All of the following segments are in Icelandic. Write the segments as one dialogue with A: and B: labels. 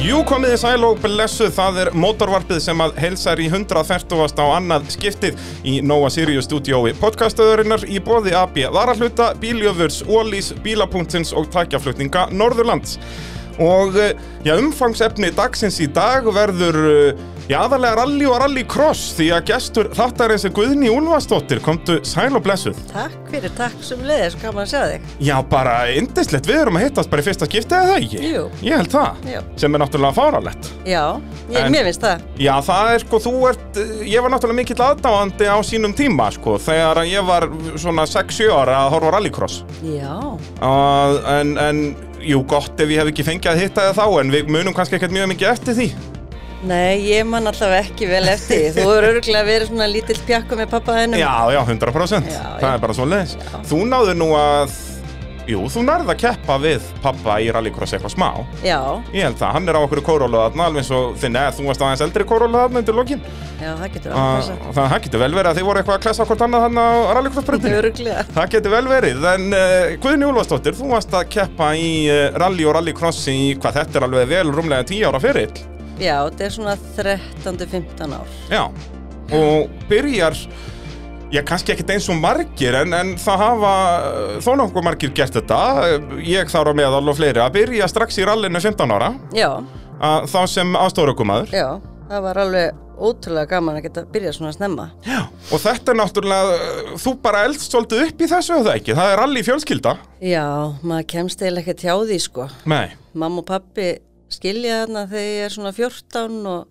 A: Jú komið í sæl og blessuð, það er mótorvarpið sem að helsar í 140. á annað skiptið í Nóa Sirius stúdiói podcastöðurinnar í bóði AB Varahluta, Bíljöfurs, Ólís, Bílapunktins og takjaflutninga Norðurlands. Og eh, já, umfangsefni dagsins í dag verður eh, já, aðalega rally og rally cross því að gestur þáttarins er Guðni Úlfarsdóttir, komdu sæl og blessuð.
B: Takk fyrir, takk sem leiðis, gaman að sjá þig.
A: Já, bara indislegt, við erum að hittast bara í fyrsta skiptið eða ekki?
B: Jú.
A: Ég held það,
B: Jú.
A: sem er náttúrulega fáralett.
B: Já, ég,
A: En-
B: mér finnst það.
A: Já, það er sko, þú ert, ég var náttúrulega mikill aðdáandi á sínum tíma, sko, þegar ég var svona 6-7 ára að horfa á rallycross.
B: Já,
A: Uh, en, en, jú, gott ef ég hef ekki fengið að hitta það þá, en við munum kannski ekkert mjög mikið eftir því.
B: nei, ég man alltaf ekki vel eftir því. Þú eru örgulega verið svona lítill pjakku með pappa hennum.
A: Já, já, 100%,
B: Já,
A: það
B: já.
A: er bara svo leiðis. Þú náður nú að, jú, þú nærð að keppa við pappa í rallycross eitthvað smá.
B: Já,
A: Ég held það, hann er á okkur kórólu þarna, alveg eins og þinn, eða þú varst aðeins eldri kórólu þarna undir lokin.
B: já, það getur alveg
A: Uh,
B: passað.
A: það það getur vel verið að þið voru eitthvað að klessa hvort annað þarna á rallycrossbreytinu.
B: Örgulega.
A: Það getur vel verið, en uh, Guðni Úlfarsdóttir, þú varst að keppa í uh, rally og rallycrossi í hvað þetta er alveg vel rúmlega 10 ára ferill.
B: Já, þetta er svona 13-15 ár.
A: Já, og byrjar, já kannski ekkert eins og margir, en, en það hafa uh, þó nokkuð margir gert þetta, uh, ég þar á meðal og fleiri, að byrja strax í rallinu 15 ára,
B: Já,
A: að, þá sem aðstórukumadur.
B: já, það var alveg ótrúlega gaman að geta byrjað svona snemma.
A: Já. Og þetta er náttúrulega, uh, þú bara eldst svolítið upp í þessu, eða ekki? Það er rally fjölskylda.
B: Já, maður kemst eiginlega ekki hjá því, sko.
A: Nei.
B: Mamma og pappi skilja þarna þegar ég er svona 14 og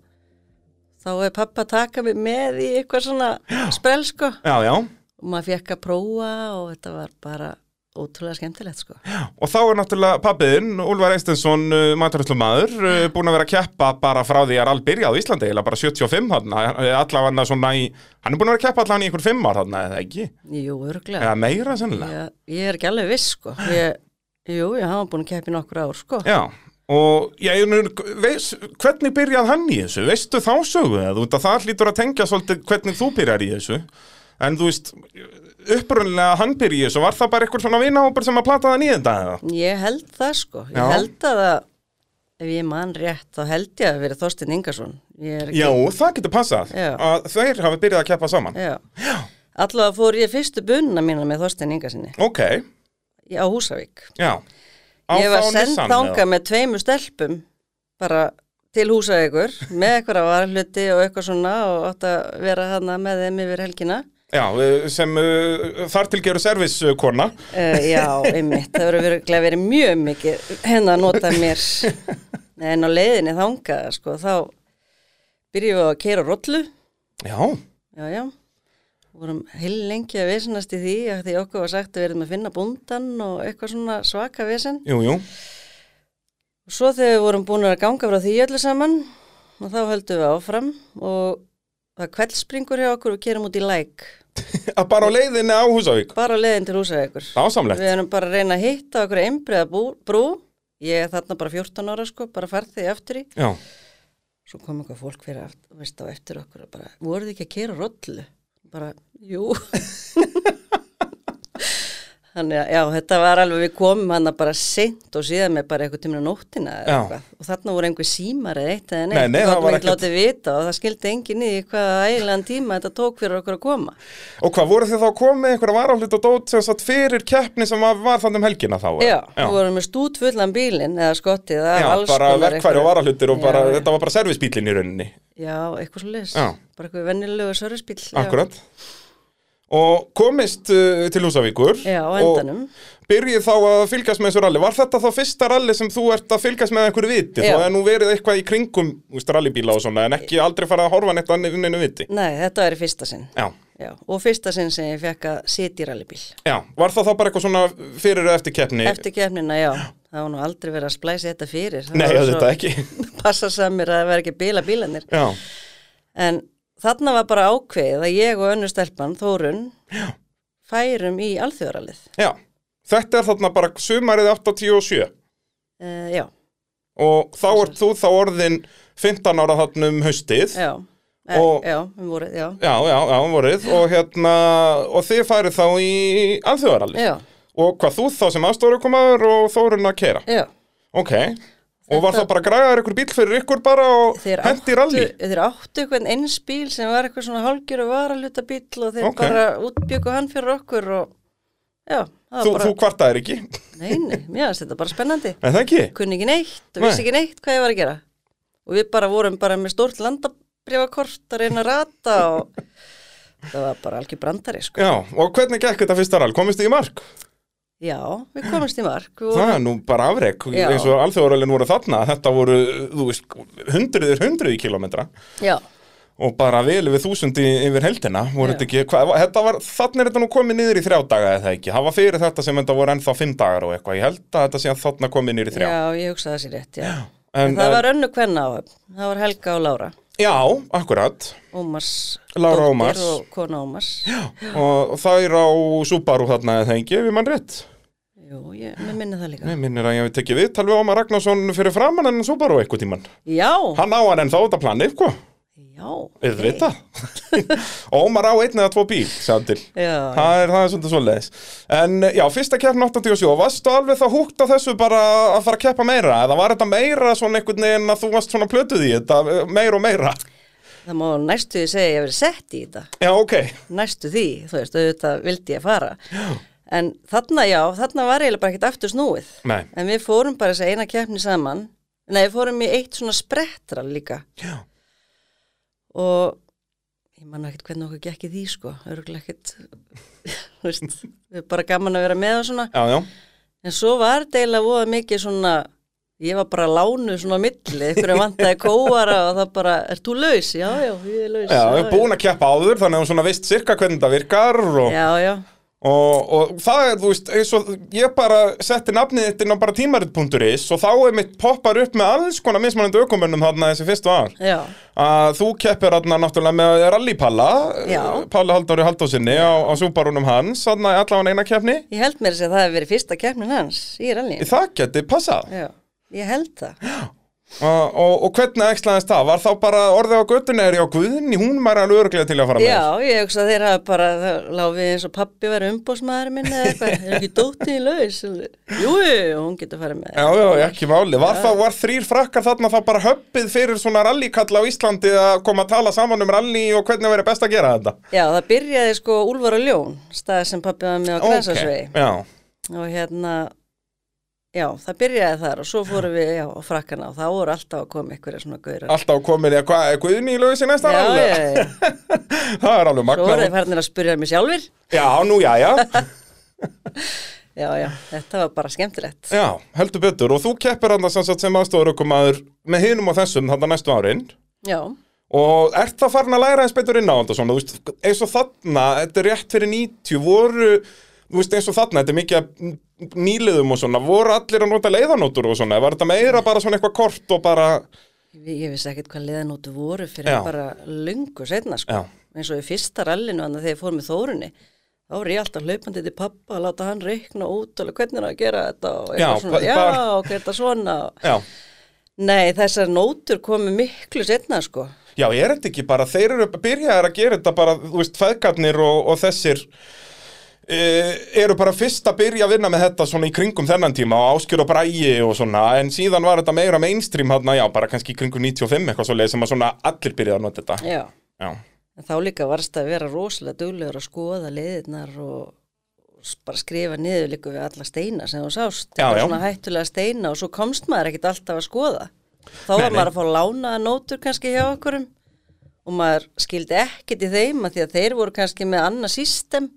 B: þá er pappa að taka mig með í eitthvað svona sprell, sko.
A: Já, já.
B: og maður fekk að prófa og þetta var bara ótrúlega skemmtilegt sko.
A: Og þá er náttúrulega pappiðinn, Úlvar Eistensson, uh, maturhaldlumadur, uh, búin að vera að keppa bara frá því að all byrjaði á Íslandi, eða bara 75 hann, eh, allavega svona í, hann er búin að vera að keppa allavega í einhver fimm ár hann, eða ekki?
B: Jú, örglega.
A: Eða meira sennilega?
B: Ég, ég er ekki alveg viss sko. Ég, jú, ég hafa búin að keppa í nokkur ár sko.
A: Já. Og ég, nú, veis, hvernig byrjað hann í þessu? Veistu þá sögu það? Þú veit að það hlýtur að tengja svolítið hvernig þú byrjar í þessu. En þú veist, upprunlega hann byrja í þessu, var það bara eitthvað svona vinahópur sem að plata það nýðenda eða?
B: Ég held það sko. Ég
A: Já.
B: held að það, ef ég man rétt þá held ég að vera Þorstein Ingarsson. Ég er ekki...
A: Já, það getur passað
B: Já.
A: að þeir hafi byrjað að keppa saman.
B: Já. Allavega fór ég fyrstu bunna mína með Þorstein Ingarssoni
A: Ok,
B: á Húsavík.
A: já. Á
B: Ég var
A: þá
B: send
A: Nissan,
B: þanga
A: eða?
B: með tveimu stelpum bara til húsavíkur með eitthvað varhluti og eitthvað svona og átt að vera hana með þeim yfir helgina.
A: Já, eh, sem uh, þar til eh, gerur serviskona.
B: Uh, já, einmitt, það verður virkilega verið mjög mikið henn að nota mér. En á leiðinni þangað, sko, þá byrjum við að keira rollu,
A: Já,
B: já, já. Vorum heil lengi að vesenast í því að því okkur var sagt að við erum að finna bundan og eitthvað svona svaka vesen.
A: jú, jú.
B: Og Svo þegar við vorum búin að ganga frá því öllu saman og þá höldum við áfram og það er kveldspringur hjá okkur og við kerum út í læk
A: Að bara á leiðinni á Húsavík.
B: bara á leiðin til húsavíkur.
A: Ásamlegt.
B: Við erum bara að reyna að hitta okkur einbreiða bú- brú. Ég er þarna bara 14 ára sko, bara farð þig eftir í.
A: Já.
B: Svo kom eitthvað fólk fyrir aft, veist, á eftir okkur og bara, voruð þið ekki að kera rollu? Bara, jú. Þannig að, já, þetta var alveg, við komum hann bara sent og síðan með bara eitthvað tímur á nóttina eða
A: Já.
B: eitthvað. Og þarna voru einhver símar eða eitt eða
A: Nei, nei, það
B: það
A: var
B: var ekkert.
A: ekkert-
B: látið vita og það skildi enginn í því hvaða ægilegan tíma þetta tók fyrir okkur að koma.
A: Og hvað, voru þið þá komið einhverja varaflut og dót sem satt fyrir keppni sem var, var þannig um helgina þá? eða?
B: Já, við vorum með stútfullan bílinn eða skottið, það
A: Já,
B: var alls
A: bara
B: konar
A: verkfæri og
B: einhverju-
A: varahlutir og
B: Já,
A: bara,
B: já.
A: þetta var bara servisbílinn í rauninni,
B: Já, eitthvað svo leis.
A: Já.
B: Bara eitthvað vennilegu sörfisbíl.
A: akkurat. Og komist uh, til Húsavíkur
B: Já, á endanum.
A: og byrjið þá að fylgjast með þessu ralli. Var þetta þá fyrsta ralli sem þú ert að fylgjast með einhverju viti?
B: Já.
A: Þá er nú verið eitthvað í kringum þú veist, rallybíla og svona en ekki aldrei farið að horfa neitt annir neinu viti.
B: Nei, þetta var í fyrsta sinn.
A: Já,
B: Já, og fyrsta sinn sem ég fekk að sitja í rallybíl.
A: já. Var það þá bara eitthvað svona fyrir eða eftir keppni?
B: Eftir kefnina, já, það var nú aldrei verið að splæsa þetta fyrir. Það
A: Nei,
B: var svo-
A: auðvitað ekki.
B: Passa samir að það verið ekki bíla bílanir.
A: Já,
B: En þarna var bara ákveðið að ég og önnur stelpan, Þórun, já. færum í alþjóðralið.
A: já. Þetta er þarna bara sumarið 87
B: Uh, já,
A: og þá ert þú þá orðin 15 ára þarna um haustið.
B: já, e,
A: Og-
B: já, um voruð, já.
A: Já, já, já, um vorið og hérna, og þið farið þá í alþjóðaralli
B: Já,
A: og hvað þú þá sem aðstóru komaður og Þórun að kera
B: já.
A: Ok, Og var það bara að græða ykkur bíl fyrir ykkur bara og
B: þeir
A: hendi ralli?
B: þeir áttu eitthvað eins bíl sem var eitthvað svona hálgjur og var að luta bíl og þeir
A: Ok.
B: bara útbyggu hann fyrir okkur og já, það
A: Þú,
B: var
A: þú
B: bara,
A: kvartaðir ekki, en
B: nei, nei, mér finnst þetta bara spennandi
A: það ekki?
B: kunni ekki neitt og
A: Nei.
B: vissi ekki neitt hvað ég var að gera og við bara vorum bara með stórt landabrifakort að reyna að rata og það var bara algjör brandari sko.
A: Já, og hvernig gekk þetta fyrsta rall? Komist þið í mark?
B: já, við komumst í mark og
A: Það er nú bara afrek,
B: Sko- Já.
A: eins og alþjóðarallin voru þarna, þetta voru, þú veist, hundruðir hundruði kilometra
B: já,
A: og bara vel yfir þúsundi yfir heldina, voru
B: Já.
A: þetta ekki, hva, þetta var, þannig er þetta nú komið niður í þrjá daga eða ekki, það var fyrir þetta sem þetta voru ennþá fimm dagar og eitthvað, ég held að þetta sé að þarna komið niður í
B: já,
A: þrjá.
B: ég hugsaði það sér rétt já.
A: En,
B: það
A: en-
B: var önnu kvenna á það var Helga og Lára
A: Já, akkurat,
B: Ómars
A: Lára
B: dóttir
A: Ómars.
B: og kona Ómars
A: og, og það er á Subaru þarna eða ekki, við mann rétt.
B: Jú, ég, mér minni það líka
A: Nei, minnir að ég hef tekið viðtal við Ómar Ragnarsson fyrir framann en Subaru eitthvað tíman.
B: Já,
A: Hann á hann en þá þetta planið, hvað?
B: já
A: Auðvitað Ómar á einn eða tvo bíl, sagði hann til
B: Já, já.
A: Það er, það er svolítið svoleiðis En eh, já, fyrsta keppn 87 Varstu alveg það húkt á þessu bara að fara að keppa meira Eða var þetta meira svona einhvern veginn að þú varst svona plötuð í þetta eh, Meira og meira
B: það má næstu því segja að ég hef verið sett í þetta
A: Já, ok
B: næstu því, þú veist, auðvitað vildi ég fara. En þarna, já, þarna var eiginlega bara ekkert aftur snúið.
A: Nei,
B: En við fórum bara þess að eina keppni saman. Nei, við fórum í eitt svona sprettra líka.
A: Já.
B: Og ég manna ekkert hvernig okkur gekk í því, sko. Örgulega ekkert, þú veist, við erum bara gaman að vera með og svona.
A: já, já
B: En svo var þetta eiginlega voða mikið svona, ég var bara lánuð svona á milli, einhverju vantaði kóara og það bara, ert þú laus? Já, já, ég er laus.
A: Já, við erum búin að keppa áður Þannig að hún svona veist sirka hvernig það virkar og,
B: Já, já,
A: og, og það er, þú veist, eins og Ég bara setti nafnið þitt inn á bara tímarit.is Og þá er mitt poppar upp með alls konar mismanandi aukumönnum þarna þessi fyrstu ár
B: já,
A: að þú keppir hérna náttúrulega með rallypalla
B: Já.
A: Palli Halldóri Halldósinni á, á súbarunum hans, þarna er allavega eina keppni
B: Ég held mér að segja að það hefur verið fyrsta keppnin hans í rallinu.
A: það geti passað
B: Já, ég held það.
A: og, og, og hvernig æxlaðist það, var þá bara orðið á göttunni er já guðinni, hún var alveg örglega til að fara með
B: Já, ég hugsa að þeir hafa bara, það láfið eins og pappi verið umbósmaður minn eða eitthvað, er ekki dóttið í laus? Jú, jú, hún getur farið með.
A: Já, já, ekki máli. Var, þá, var þrýr frakkar þarna þá bara höppið fyrir svona rallykall á Íslandi að koma að tala saman um rally og hvernig verið best að gera þetta?
B: Já, það byrjaði sko Úlfar og Ljón, stað sem pappi var með á Grænsásvegi
A: já,
B: og hérna, já, það byrjaði þar og svo fórum við já, á frakkana og þá voru alltaf að koma einhverja svona gaurar.
A: alltaf komin í að hvað, er Guðni í lausi næsta
B: Já,
A: rally?
B: já, já,
A: Það er alveg
B: svo voru
A: magna.
B: þeir farinir að spyrja mig sjálfur.
A: Já, nú, já, já.
B: Já, já, þetta var bara skemmtilegt.
A: Já, heldur betur og þú keppir hann sem, sagt sem aðstofur okkur maður með hinum og þessum þarna næstu árin
B: Já,
A: og ert það farin að læra eins betur inn á þetta svona, þú veist, eins og þarna þetta er rétt fyrir 90, voru þú veist, eins og þarna, þetta er mikið af nýliðum og svona, voru allir að nota leiðanótur og svona, var þetta meira bara svona eitthvað kort og bara,
B: Ég, ég vissi ekkert hvað leðanótu voru fyrir
A: Já.
B: bara lungu setna sko.
A: Já.
B: eins og í fyrsta rallinu þannig að þegar ég fór með Þórunni þá var ég alltaf hlaupandi til pappa að láta hann reikna út alveg hvernig er að gera þetta og eitthvað
A: Já,
B: svona,
A: ba-
B: já,
A: bara-
B: ok, þetta svona
A: já
B: Nei, þessar nótur komu miklu setna sko.
A: Já, er þetta ekki bara, þeir eru byrjaðar að gera þetta bara, þú veist, feðgarnir og, og þessir e, eru bara fyrst að byrja að vinna með þetta svona í kringum þennan tíma og áskjur og bræi og svona, en síðan var þetta meira mainstream hann já, bara kannski í kringum 95 eitthvað svo leið sem að svona allir byrjaði að nota þetta.
B: Já,
A: Já,
B: en þá líka varst að vera rosalega duglegur að skoða leiðirnar og og bara skrifa niður líka við alla steina sem þú sást,
A: Já, já.
B: Bara svona hættulega steina og svo komst maður ekkit alltaf að skoða
A: Nei,
B: þá var
A: nei.
B: maður að fá lánaða nótur kannski hjá okkurum og maður skildi ekkit í þeim að því að þeir voru kannski með annað system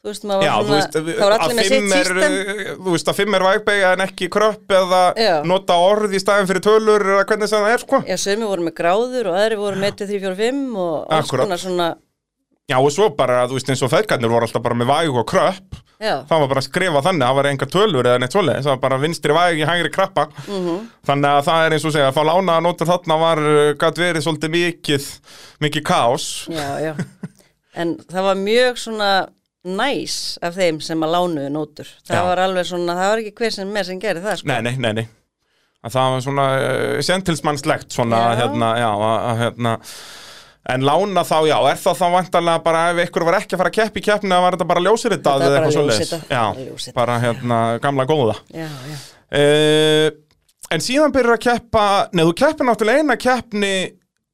B: þú veist, maður
A: já
B: var
A: þú
B: svona
A: veist,
B: þá var allir
A: að
B: með sitt
A: fimm er,
B: system
A: eh, þú veist, að fimm er vægbega en ekki kröpp eða
B: Já.
A: nota orð í staðin fyrir tölur eða hvernig sem það er, sko.
B: já, sömi voru með gráður og aðri voru með 1, 2, 3, 4, 5 og alls
A: Akkúrat.
B: konar svona
A: Já, og svo bara, þú veist, eins og feðgarnir voru alltaf bara með væg og kröpp
B: já,
A: það var bara að skrifa þannig, það var enga tölur eða neitt svoleiðis, það var bara vinstri væg í hægri krabba
B: Mhm.
A: þannig að það er eins og segja að fá lána að nota þarna var, gæt verið svolítið mikið, mikið kaos
B: já, já. En það var mjög svona næs af þeim sem að lánuðu nótur. Það
A: Já.
B: var alveg svona, það var ekki hver sem með sem gerði það, sko.
A: nei, nei, nei, nei að það var svona uh, sentilsmannslegt svona,
B: Já.
A: hérna, já, að, að, hérna en lána þá, já, er það þá vantarlega bara ef ykkur var ekki að fara að keppi í keppni að var þetta bara ljósirita
B: Þetta var
A: eða
B: bara
A: eitthvað svoleiðis
B: ljósritað,
A: já,
B: bara ljósritað.
A: bara hérna, gamla góða
B: Já, já.
A: Uh, En síðan byrjar að keppa, nei þú keppir náttúrulega eina keppni,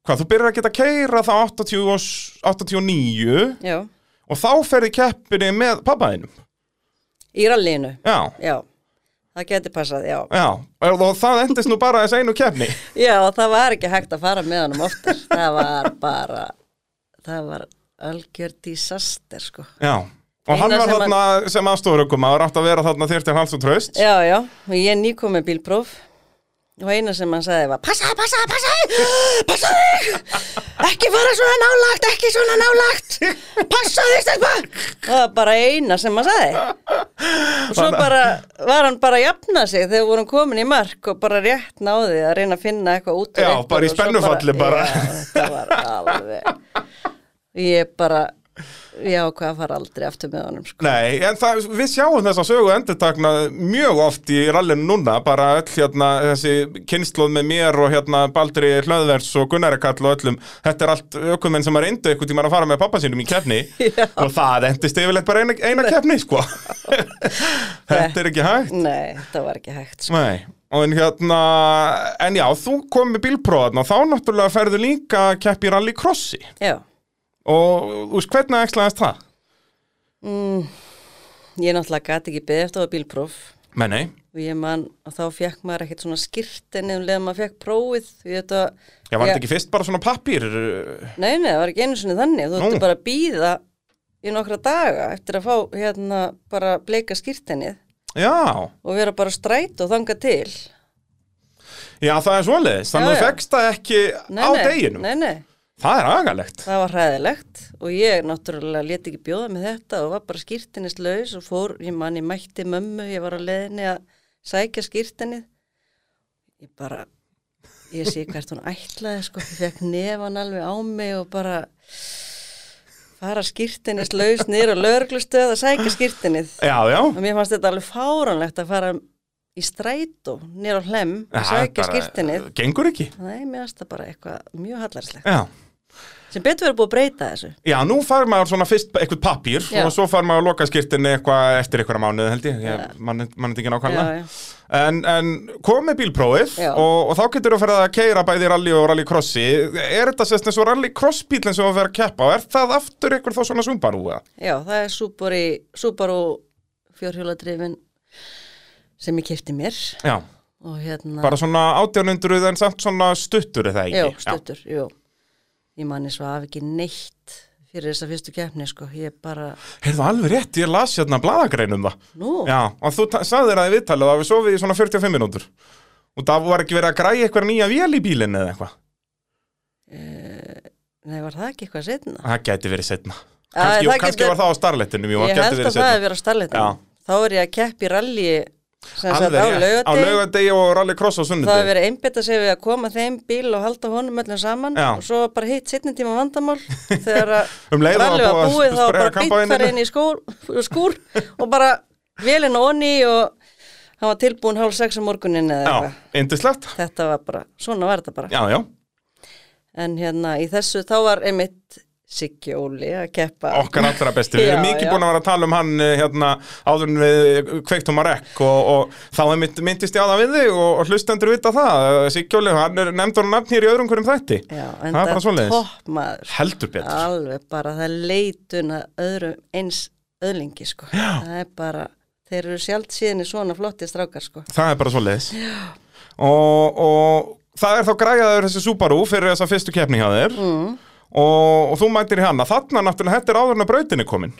A: hvað þú byrjar að geta keira það 80 og, s- 89
B: já,
A: og þá ferði keppinni með pappaðinum.
B: í rallinu,
A: Já,
B: já, það geti passað, já.
A: já, og það endist nú bara þess einu keppni.
B: Já, það var ekki hægt að fara með honum oftar, það var bara, það var algjör disaster, sko.
A: Já, og
B: Eina
A: hann var
B: sem
A: þarna sem aðstofurökum að rátt að vera þarna þér til hals og tröst.
B: Já, já, og ég er nýkom með bílpróf og eina sem hann sagði var Passaði, passaði, passaði, passaði Ekki fara svona nálagt, ekki svona nálagt Passaði, stelpa Það var bara eina sem hann sagði Og svo bara var hann bara að jafna sig þegar við vorum komin í mark og bara rétt náði að reyna að finna eitthvað út úr
A: Já,
B: einhverju
A: bara í
B: og svo
A: spennufalli bara.
B: Já, þetta var alveg Ég bara, já, hvað fara aldrei aftur með honum, sko
A: Nei, en það, við sjáum þess að sögu endurtakna mjög oft í rallinu núna, bara öll hérna, þessi kynnslóð með mér og hérna Baldri Hlöðvers og Gunnari Karl og öllum, þetta er allt ökumenn sem er reyndu einhvern tímann að fara með pappa sínum í keppni
B: Já.
A: og það endist yfirleitt bara eina, eina keppni, sko. þetta er ekki hægt.
B: Nei, þetta var ekki hægt, sko
A: Nei, og en hérna, en já, þú kom með bílpróðan og þá náttúrulega ferðu líka að keppa í rallycrossi
B: Já
A: og þú veist hvernig æxlaðist það?
B: Ég náttúrulega gati ekki beðið eftir á bílpróf
A: Nei, nei,
B: og ég man að þá fekk maður ekkert svona skirtin um leðan maður fekk prófið því þetta
A: ég var
B: Ég-
A: þetta ekki fyrst bara svona pappír... uh,
B: Nei, nei, það var ekki einu sinni þannig þú
A: Nú.
B: ætti bara að býða í nokkra daga eftir að fá hérna bara bleika skirtinnið
A: Já,
B: og vera bara stræt og þanga til
A: já það er svoleiðis, þannig
B: Já,
A: að þú
B: já.
A: fegst það ekki
B: nei,
A: á
B: nei,
A: deginum
B: Nei, nei,
A: Það er agalegt
B: það var hræðilegt og ég náttúrulega leti ekki bjóða með þetta og var bara skýrtinislaus og fór, ég man, ég mætti mömmu, ég var á leiðinni að sækja skýrtinið. Ég bara, ég sé hvert hún ætlaði, sko, ég fekk nefan alveg á mig og bara fara skýrtinislaus niður á lögreglustöð að sækja skýrtinið.
A: Já, já,
B: Og mér fannst þetta alveg fáranlegt að fara í strætó niður á hlem að
A: það er
B: sækja skýrtinið.
A: gengur ekki
B: Nei, mér fannst það bara eitthvað mjög hallarslegt.
A: Já,
B: Sem betur verið búið að breyta þessu.
A: já nú fær maður svona fyrst eitthvað pappír
B: Já.
A: og svo fær maður að loka skirtinni eitthvað eftir einhverja mánuð held ég,
B: Já.
A: ég mann man er ekki
B: Já,
A: nákvæmlega
B: já.
A: En, en komið bílprófið
B: Já.
A: og, og þá getur þú fyrir að keira bæði í rally og rallycrossi Er þetta sérst eins og rallycrossbílinn sem þú verður að keppa og er það aftur ykkur þá svona Subaru? eða?
B: Já, það er Subaru, Subaru fjórhjóladrifin sem ég kefti mér
A: Já,
B: og hérna,
A: bara svona 1800 en samt svona stuttur er það ekki?
B: jú, stuttur, jú. Ég manni svo af ekki neitt fyrir þessa fyrstu keppni, sko, ég bara,
A: Heyrðu alveg rétt, ég las hérna bladagreinum það
B: nú,
A: Já, og þú ta- sagðir það í viðtalið að við sofið í svona 45 minútur Og það var ekki verið að græja eitthvað nýja vél í bílinni eða eitthvað
B: nei, var það ekki eitthvað setna?
A: Það gæti verið setna
B: Já,
A: Kannski, jú,
B: það
A: kannski
B: getur-
A: var það á starletinum, jú, það
B: Ég
A: gæti
B: held
A: verið
B: að það
A: setna
B: hefur verið á starleitinu.
A: Já.
B: Þá er ég að keppi rally sem sagt
A: Alveg
B: á
A: rétt, á
B: laugardegi.
A: laugardegi og rallycross á
B: Það hefur
A: sunnudegi
B: verið einbytta sig við að koma þeim bíl og halda honum öllum saman
A: Já.
B: og svo var bara hitt setni tíma vandamál þegar að
A: Um leið og
B: rallið
A: var búið að
B: var búið þá var
A: spreyja
B: bara
A: kampavíni.
B: býtt þar inn í skúr, skúr og bara velin onni og hann var tilbúin hálf sex á morgunin eða
A: Já,
B: eitthvað.
A: indislegt
B: Þetta var bara, svona var þetta bara.
A: Já, já,
B: En hérna í þessu þá var einmitt Siggi Óli að keppa.
A: okkar allra besti Við
B: Já,
A: erum mikið
B: já.
A: búin að vera að tala um hann eh, hérna, áður en við kveiktum að rekk og, og þá er mynd, myndist ég á það við þig og, og hlustendur vita það Siggjóli, hann er nefndur nafn hér í öðrum hverjum þætti
B: Já,
A: Það er
B: en
A: bara svoleiðis.
B: topp maður.
A: Heldur betur
B: Alveg bara það leitun að öðrum eins öðlingi sko. Já. Það er bara, þeir eru sjálft síðan í svona flotti strákar sko.
A: Það er bara svo leiðis og, og það er þá græjaður þessi Subaru fyrir þessa fyrstu keppni hjá þér mm. og, og þú mætir í hana Þarna náttúrulega, þetta er áður en að brautin er komin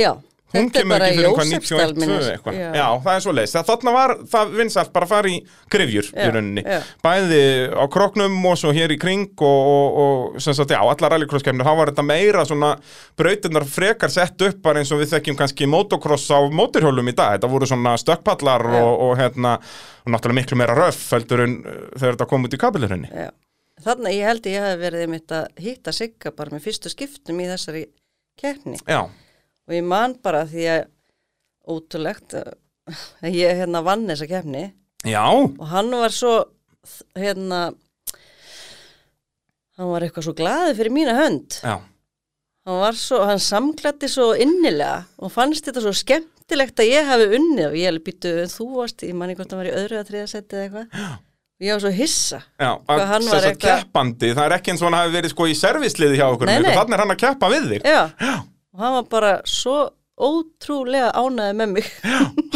B: Já,
A: Hún
B: þetta er
A: kemur
B: bara
A: ekki fyrir eitthvað 91
B: Jósefsdalminni.
A: 92 eitthvað já. það er svo leiðis Þarna var það vinsalt bara að fara í grifjur í
B: Já,
A: rauninni
B: já.
A: Bæði á kroknum og svo hér í kring og, og, og sem sagt, já, allar rallycrosskeppnir Þá var þetta meira svona brautinnar frekar sett upp bara eins og við þekkjum kannski motocross á móturhjólum í dag Þetta voru svona stökkpallar
B: Já.
A: og, og hérna og náttúrulega miklu meira röf heldur en uh, þegar þetta kom út í kabelurinn
B: Já. Þannig ég held að ég hef verið mitt að hitta Sigga bara með fyrstu skiptum í þessari keppni
A: Já,
B: og ég man bara því að ótrúlegt að að ég hérna vann þessa keppni
A: já,
B: og hann var svo hérna hann var eitthvað svo glaði fyrir mína hönd
A: já
B: hann var svo, hann samklætti svo innilega og fannst þetta svo skemmtilegt að ég hafi unnið og ég hefði býttu þú varst, ég manni hvort hann var í öðru að þriða seti eða eitthvað Ég var svo hissa.
A: Já, að,
B: hann
A: sem
B: var
A: sagt,
B: eitthvað-
A: keppandi, það er ekki eins og hann hafi verið sko í servisliði hjá okkur,
B: Nei, nei.
A: þannig er hann að keppa við þig.
B: Já,
A: Já,
B: og hann var bara svo ótrúlega ánæði með mig.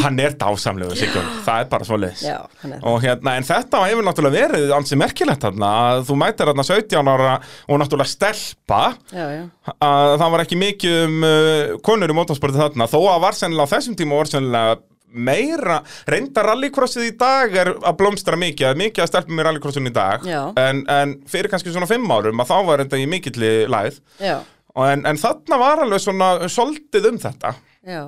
A: hann er dásamlegu sigur, það er bara svo leiðis.
B: Já, hann er.
A: Og hérna, en þetta hefur náttúrulega verið ansi merkilegt þarna, að þú mætir þarna 17 ára og náttúrulega stelpa,
B: Já, já.
A: að það var ekki mikið um uh, konur í mótorsporti þarna, þó að var sennilega á þessum tíma var sennilega meira, reynda rallycrossið í dag er að blómstra mikið, það er mikið að stelpum í rallycrossinu í dag,
B: Já.
A: en, en fyrir kannski svona fimm árum að þá var þetta í mikilli læð,
B: Já,
A: Og en, en þarna var alveg svona soldið um þetta,
B: já.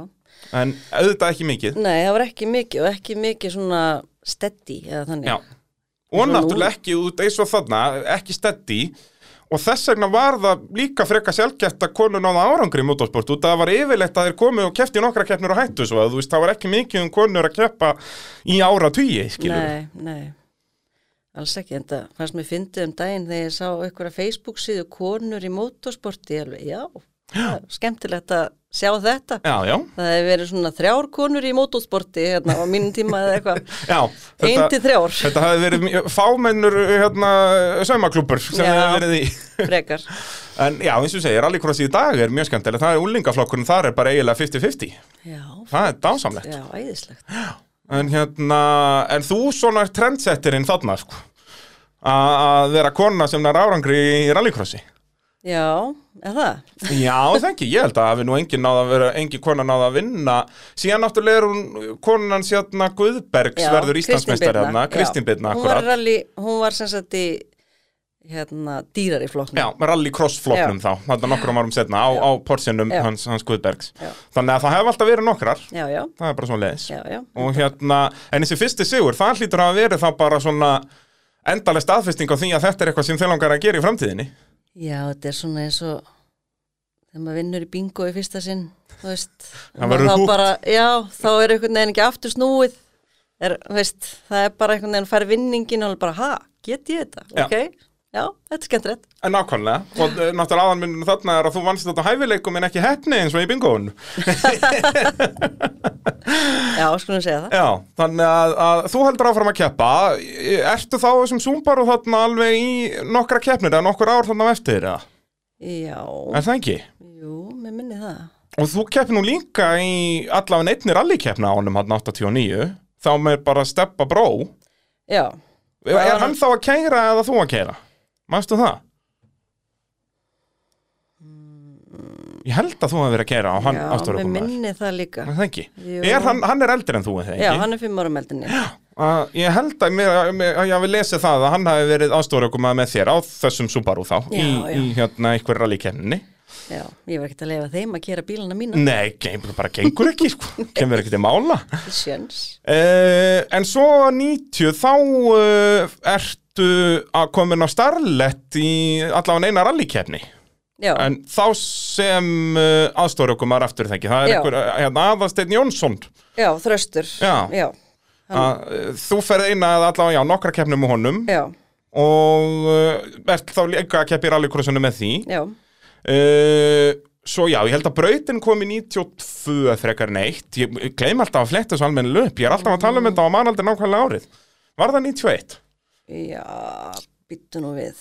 A: en auðvitað ekki mikið,
B: Nei, það var ekki mikið og ekki mikið svona steady eða þannig.
A: já. Og
B: Eins og nú.
A: náttúrulega ekki út eins og þarna, ekki steddi, og þess vegna var það líka freka sjálfgætt að konur náða árangri í motorsport, út að það var yfirleitt að þeir komu og kefti nokkra keppnur og hættu svo, að þú veist, það var ekki mikið um konur að keppa í ára tugi, skilur við.
B: Nei, nei, alls ekki, en það fannst mér fyndið um daginn þegar ég sá einhverja Facebook síðu konur í mótorsporti, ég alveg, já, já. skemmtilegt að sjá þetta.
A: Já, já,
B: Það hefur verið svona þrjár konur í mótorsporti hérna á mínum tíma eða eitthvað,
A: já.
B: ein til þrjár
A: Þetta hafði verið mjög- fámennur hérna, saumaklúpur sem
B: Já.
A: þið hafði verið í.
B: frekar.
A: En já, eins og segir, rallycross í dag er mjög skemmtilega, það er úlingaflokkurinn, þar er bara eiginlega 50-50.
B: Já,
A: Það er dásamlegt.
B: já, æðislegt.
A: En hérna, en þú svona er trendsetterinn þarna, sko. A- Að vera kona sem nær árangri í rallycrossi.
B: Já, eða það?
A: Já, þengi, ég held að hafi nú engin náða að vera, engin kona náða að vinna. Síðan náttúrulega er hún konan sérna Guðbergs
B: Já,
A: verður
B: Kristín
A: Íslandsmeistari
B: Birna,
A: hérna,
B: já.
A: Kristín Birna,
B: Hún var,
A: akkurat.
B: rally, hún var sem sagt í hérna, dýrar í flokknum.
A: Já, rallycrossfloknum þá, þarna nokkrum árum setna á, á porsinum
B: Já.
A: hans, hans Guðbergs.
B: Já.
A: Þannig að það hefur alltaf verið nokkrar,
B: Já, já,
A: það er bara svona leiðis.
B: já, já.
A: og hérna, en þessi fyrsti sigur það hlýtur að vera þá bara svona endalega staðfesting á því að þetta er eitthvað sem þeir langar að gera í framtíðinni
B: Já, þetta er svona eins og þegar maður vinnur í bingo í fyrsta sinn, þú veist.
A: Það
B: og
A: verður
B: þá
A: húkt.
B: bara- Já, þá er einhvern veginn ekki aftur snúið. Er, þú veist, það er bara einhvern veginn fær vinningin og alveg bara, ha, get ég þetta?
A: Já.
B: Ok, já, þetta er skemmt rétt.
A: en nákvæmlega, og eh, náttúrulega aðanmyndinu þarna er að þú vannst þetta á hæfileikum en ekki hefni eins og í bingoun
B: Já, skulum segja það.
A: já, þannig að, að þú heldur áfram að keppa ertu þá á þessum zúmbar og þarna alveg í nokkra keppnir eða nokkur ár þarna á eftir eða,
B: Já,
A: er það ekki?
B: jú, mér minni það.
A: og þú kepp nú líka í allavega einni rallikeppna ánum hann 89 þá með bara steppa bró
B: Já,
A: er hann þá að keira eða þú að keira? Manstu það? Ég held að þú hafi verið að keira og hann
B: Mm. já,
A: aftur
B: mér
A: okkur maður.
B: minni það líka.
A: Er Það ekki.
B: Jú.
A: Er hann, hann er eldri en þú, er það
B: Já,
A: ekki?
B: hann er fimm ára um meldinni.
A: Að ég held að, mér, að- mér- að ég hafi lesið það að hann hafi verið aðstóri okkur maður með þér á þessum Subaru þá
B: Já,
A: í,
B: já.
A: í hérna einhver rallykefninni.
B: Já, ég var ekkert að leifa þeim að kera bílana mína.
A: Nei, gen- bara gengur ekki, sko. kemur ekki til mála.
B: Ekki Sjens.
A: Uh, en svo 90 þá uh, ertu að komin á starlett í allavega eina rallykefni
B: Já,
A: en þá sem uh, aðstóri okkur maður aftur þengi það er
B: Já.
A: einhver, hérna, aðasteinn Jónsson
B: já, þröstur.
A: Já.
B: Já,
A: að, uh, þú ferð eina eða allavega já, nokkra keppnum með honum
B: já,
A: og uh, ert þá líka að keppi rallycrossinu með því
B: já.
A: uh, svo já, ég held að brautin kom í 92 frekar neitt ég ég gleym alltaf að fletta þessu almenn löp ég er alltaf að tala
B: Mm.
A: um þetta á mannaldir nákvæmlega árið var það 91?
B: Já, býttu nú við.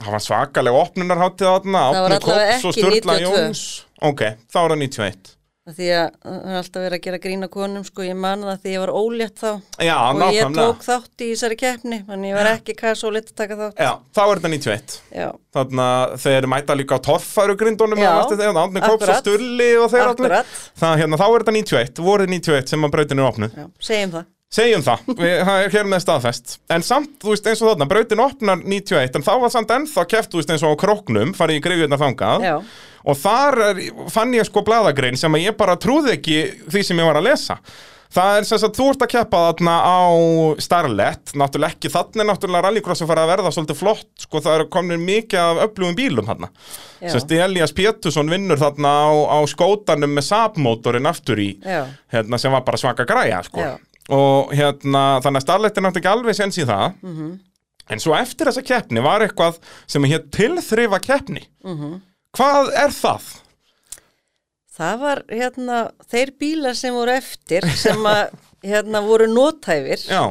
A: Það var svakalega opnunarháttið þarna
B: Það var
A: Árni
B: allavega
A: Kóps og
B: ekki
A: Sturla
B: 92.
A: Jóns Ok, þá var það 91
B: Af Því að það er alltaf verið að gera grína konum, sko, ég man það því ég var ólétt þá.
A: Já,
B: og ég
A: nákvæmlega
B: tók þátt í þessari keppni, þannig ég var ekki kæs ólétt að taka þátt.
A: Já, þá er þetta 91
B: Já,
A: Þannig að þeir mæta líka á torfarugrindunum
B: Já,
A: eða varstu þegar, Árni Kóps og
B: akkurat.
A: Sturli og þeir allir
B: Akkurat.
A: Það, hérna, þá er þetta 91, voruð 91 sem að brautin er opnuð
B: já, segjum það.
A: Segjum það, við, það er hér með staðfest En samt, þú veist eins og þarna, brautin opnar 91 En þá var samt ennþá keft, þú veist eins og á króknum Farið í greifjörna þangað
B: Já,
A: Og þar er, fann ég sko bladagrein sem að ég bara trúði ekki því sem ég var að lesa. Það er sem sagt, þú ert að keppa þarna á Starlet, náttúrulega ekki, þannig er náttúrulega rallycross að fara að verða svolítið flott, sko, það eru komin mikið af öflugum bílum þarna.
B: Já.
A: Sérst, Elias Pétursson vinnur þarna á, á skótanum með Saab-mótorinn aftur í,
B: já,
A: hérna, sem var bara svaka græja, sko.
B: Já.
A: Og hérna, þannig að Starlet er náttúrulega ekki alveg sens í það,
B: Mhm.
A: en svo eftir þessa keppni var eitthvað sem hér tilþrifa keppni.
B: Mhm.
A: Hvað er það?
B: það var hérna, þeir bílar sem voru eftir, sem að hérna voru nótæfir,
A: Já,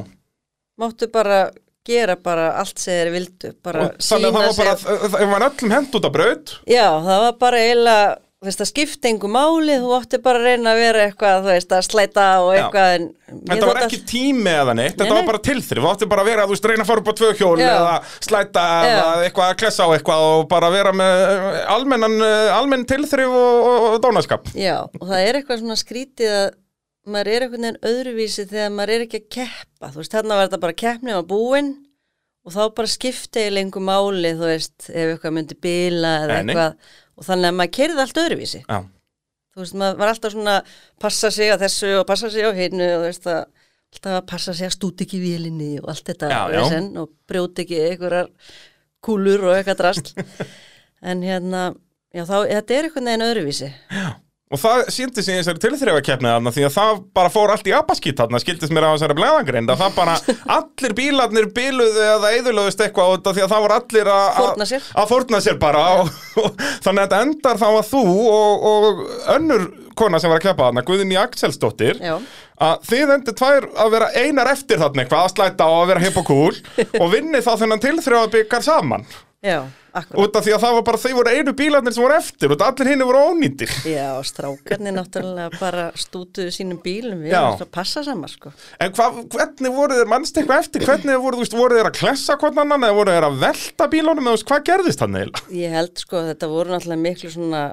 B: máttu bara gera bara allt sem þeir vildu bara
A: Og þannig að það var bara, það það var öllum hent út af braut
B: já, það var bara eiginlega þú veist, það skipti engu máli þú ótti bara að reyna að vera eitthvað þú veist, að slæta og
A: Já.
B: eitthvað en mér
A: Þetta var
B: þótti
A: ekki tími eða neitt, þetta
B: Nei,
A: var
B: nei.
A: bara tilþrif Það átti bara að vera að þú veist, reyna að fara upp á tvö hjól
B: Já.
A: eða slæta eða eitthvað að klessa á eitthvað og bara vera með eh, almennan, eh, almenn tilþrif og, og, og dónaskap
B: all- já, og það er eitthvað svona skrítið að maður er einhvern veginn öðruvísi þegar maður er ekki að keppa þú veist, þarna var þetta bara keppnið var búinn og þá bara skipti eiginlega engu máli þú veist, ef eitthvað myndi bila
A: Nei,
B: eða
A: nei.
B: eitthvað og þannig að maður kerði allt öðruvísi
A: Já,
B: þú veist, maður var alltaf svona að passa sig á þessu og passa sig á hinnu og þú veist að alltaf að passa sig að stúti ekki vélinni og allt þetta
A: Já, já.
B: vesen og brjóti ekki einhverjar kúlur og eitthvað drast en hérna, já þá, þetta er einhvern veginn öðruvísi
A: og það síndi sig í þessari tilþrifakeppni þarna því að það bara fór allt í apaskýt þarna skildist mér á þessari blæðangreind að það bara allir bílarnir biluðu eða eðurlöðust eitthvað út af því að það voru allir að
B: Fórna sér.
A: að fórna sér bara og, og, þannig að þetta endar þá að þú og, og önnur kona sem var að keppa þarna Guðinni Axelsdóttir
B: Já.
A: að þið endur tvær að vera einar eftir þarna eitthvað að slæta á að vera hipp og kúl og vinni þá þennan tilþrifabikar saman
B: já, akkurat
A: út af því að það var bara þau voru einu bílarnir sem voru eftir og allir hinn voru ónýttir
B: Já, strákarnir náttúrulega bara stútuðu sínum bílum við
A: Já.
B: erum alltaf að passa saman sko.
A: En hva, hvernig voru þeir mannst eitthvað eftir? Hvernig voru, þú veist, voru þeir að klessa hvort annan eða voru þeir að velta bílunum eða þú veist, hvað gerðist hann eiginlega?
B: Ég held sko að þetta voru náttúrulega miklu svona,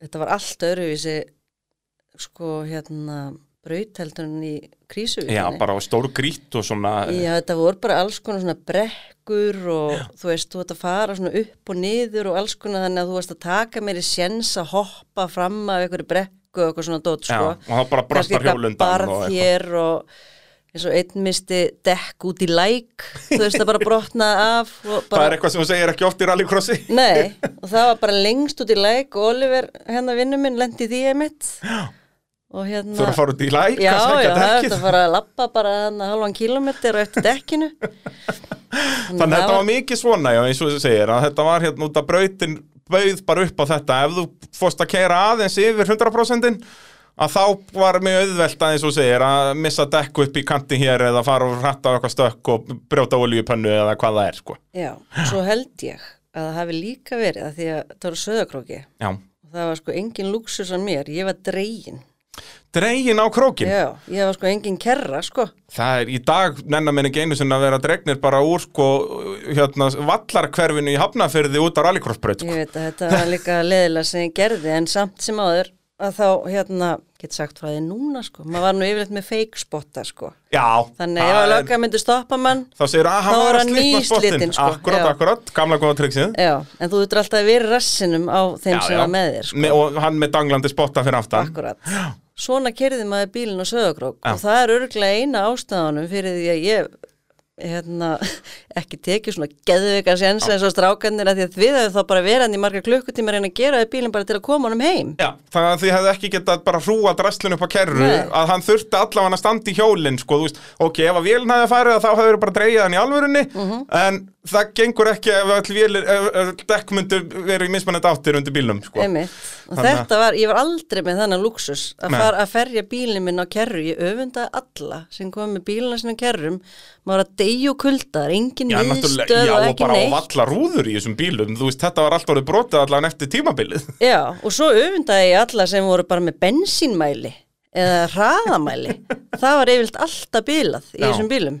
B: þetta var allt öðruvísi sko hérna brauteldurinn í krísuvíkinni.
A: Já, bara á stóru grýtt og svona
B: Já, þetta voru bara alls konar svona brekkur og þú veist, þú ert að fara svona upp og niður og alls konar þannig að þú varst að taka meiri sjens að hoppa fram af einhverju brekku og eitthvað svona dót,
A: Já,
B: sko.
A: og það bara brotnar hjólundan
B: Kannski
A: og
B: þetta
A: eitthvað.
B: barð hér og eins og einn misti dekk út í læk, þú veist, það bara brotnaði af og
A: það
B: bara...
A: er eitthvað sem þú segir ekki oft í rallycrossi
B: Nei, og það var bara lengst út í læk og Oliver, hennar vinnu minn, lendi því einmitt. Já. Og hérna...
A: Þú eru að fara út í læk,
B: Já,
A: að
B: já,
A: sækja
B: það er
A: dekkið
B: þetta að fara að lappa bara þannig halvan kilometr og eftir dekkinu.
A: Þannig að þetta var mikið svona, já, eins og þú segir að þetta var hérna út að brautin bauð bara upp á þetta ef þú fórst að keira aðeins yfir 100% að þá var mjög auðvelt aðeins og segir að missa dekk upp í kanti hér eða fara og ratta á eitthvað stökk og brjóta olíupönnu eða hvað það er sko.
B: Já, svo held ég að það hafi líka verið að því að þetta var söðakróki
A: Já,
B: og það var sko engin lúksus á mér, ég var dregin.
A: dregin á krókin
B: Já, ég var sko engin kerra sko.
A: það er í dag nennar menn ekki einu sinna að vera dregnir bara úr sko hérna vallarkverfinu í Hafnafyrði út á rallycrossbraut
B: Ég
A: sko.
B: veit að þetta var líka leðilega sem ég gerði en samt sem áður að þá hérna, get sagt frá því núna sko, maður var nú yfirleitt með fake spotta sko.
A: já
B: Þannig ef
A: það
B: að
A: er-
B: lögga myndi stoppa mann,
A: þá segir að
B: Þá
A: hann var
B: var
A: að
B: hann
A: slitna spottin
B: nýslitinn, sko,
A: akkurat,
B: já.
A: akkurat, gamla góða triksið
B: já, en þú ert alltaf að vera rassinum á þeim sem var með þér sko.
A: og hann með danglandi spotta fyrir aftan
B: Akkurat. Svona kerði maður bílinn á söðakrók og það er örglega eina ástæðanum fyrir því að ég hérna, ekki tekið svona geðveika sjens eins og strákanir að því að við hefum þá bara verið hann í marga klukkutíma að reyna að gera því bílinn bara til að koma honum heim.
A: Já, þannig að þið hefði ekki getað bara hrúa drastlun upp á kerru
B: Nei.
A: að hann þurfti allavega að standa í hjólinn sko, þú veist, ok, ef að vélin hefði farið þá hefur bara dreigið hann í alvörunni
B: Mhm.
A: en það gengur ekki ef all vélir ef, ef dekk myndu verið í mismannandi áttir undir bílnum, sko
B: Einmitt. Og
A: Þannig að-
B: þetta var, ég var aldrei með þennan luxus að
A: Nei.
B: fara að ferja bílinn minn á kerru, ég öfundaði alla sem kom með bílina sinna á kerrum, maður að deyju kuldar, engin
A: Já, náttúrulega,
B: viðstöð
A: já,
B: og
A: og
B: ekki
A: bara á
B: neitt.
A: valla rúður í þessum bílum, þú veist, þetta var allt orðið brotið allan eftir tímabilið
B: Já, og svo öfundaði ég alla sem voru bara með bensínmæli eða hraðamæli. það var yfirlt alltaf bílað í
A: Já.
B: þessum bílum.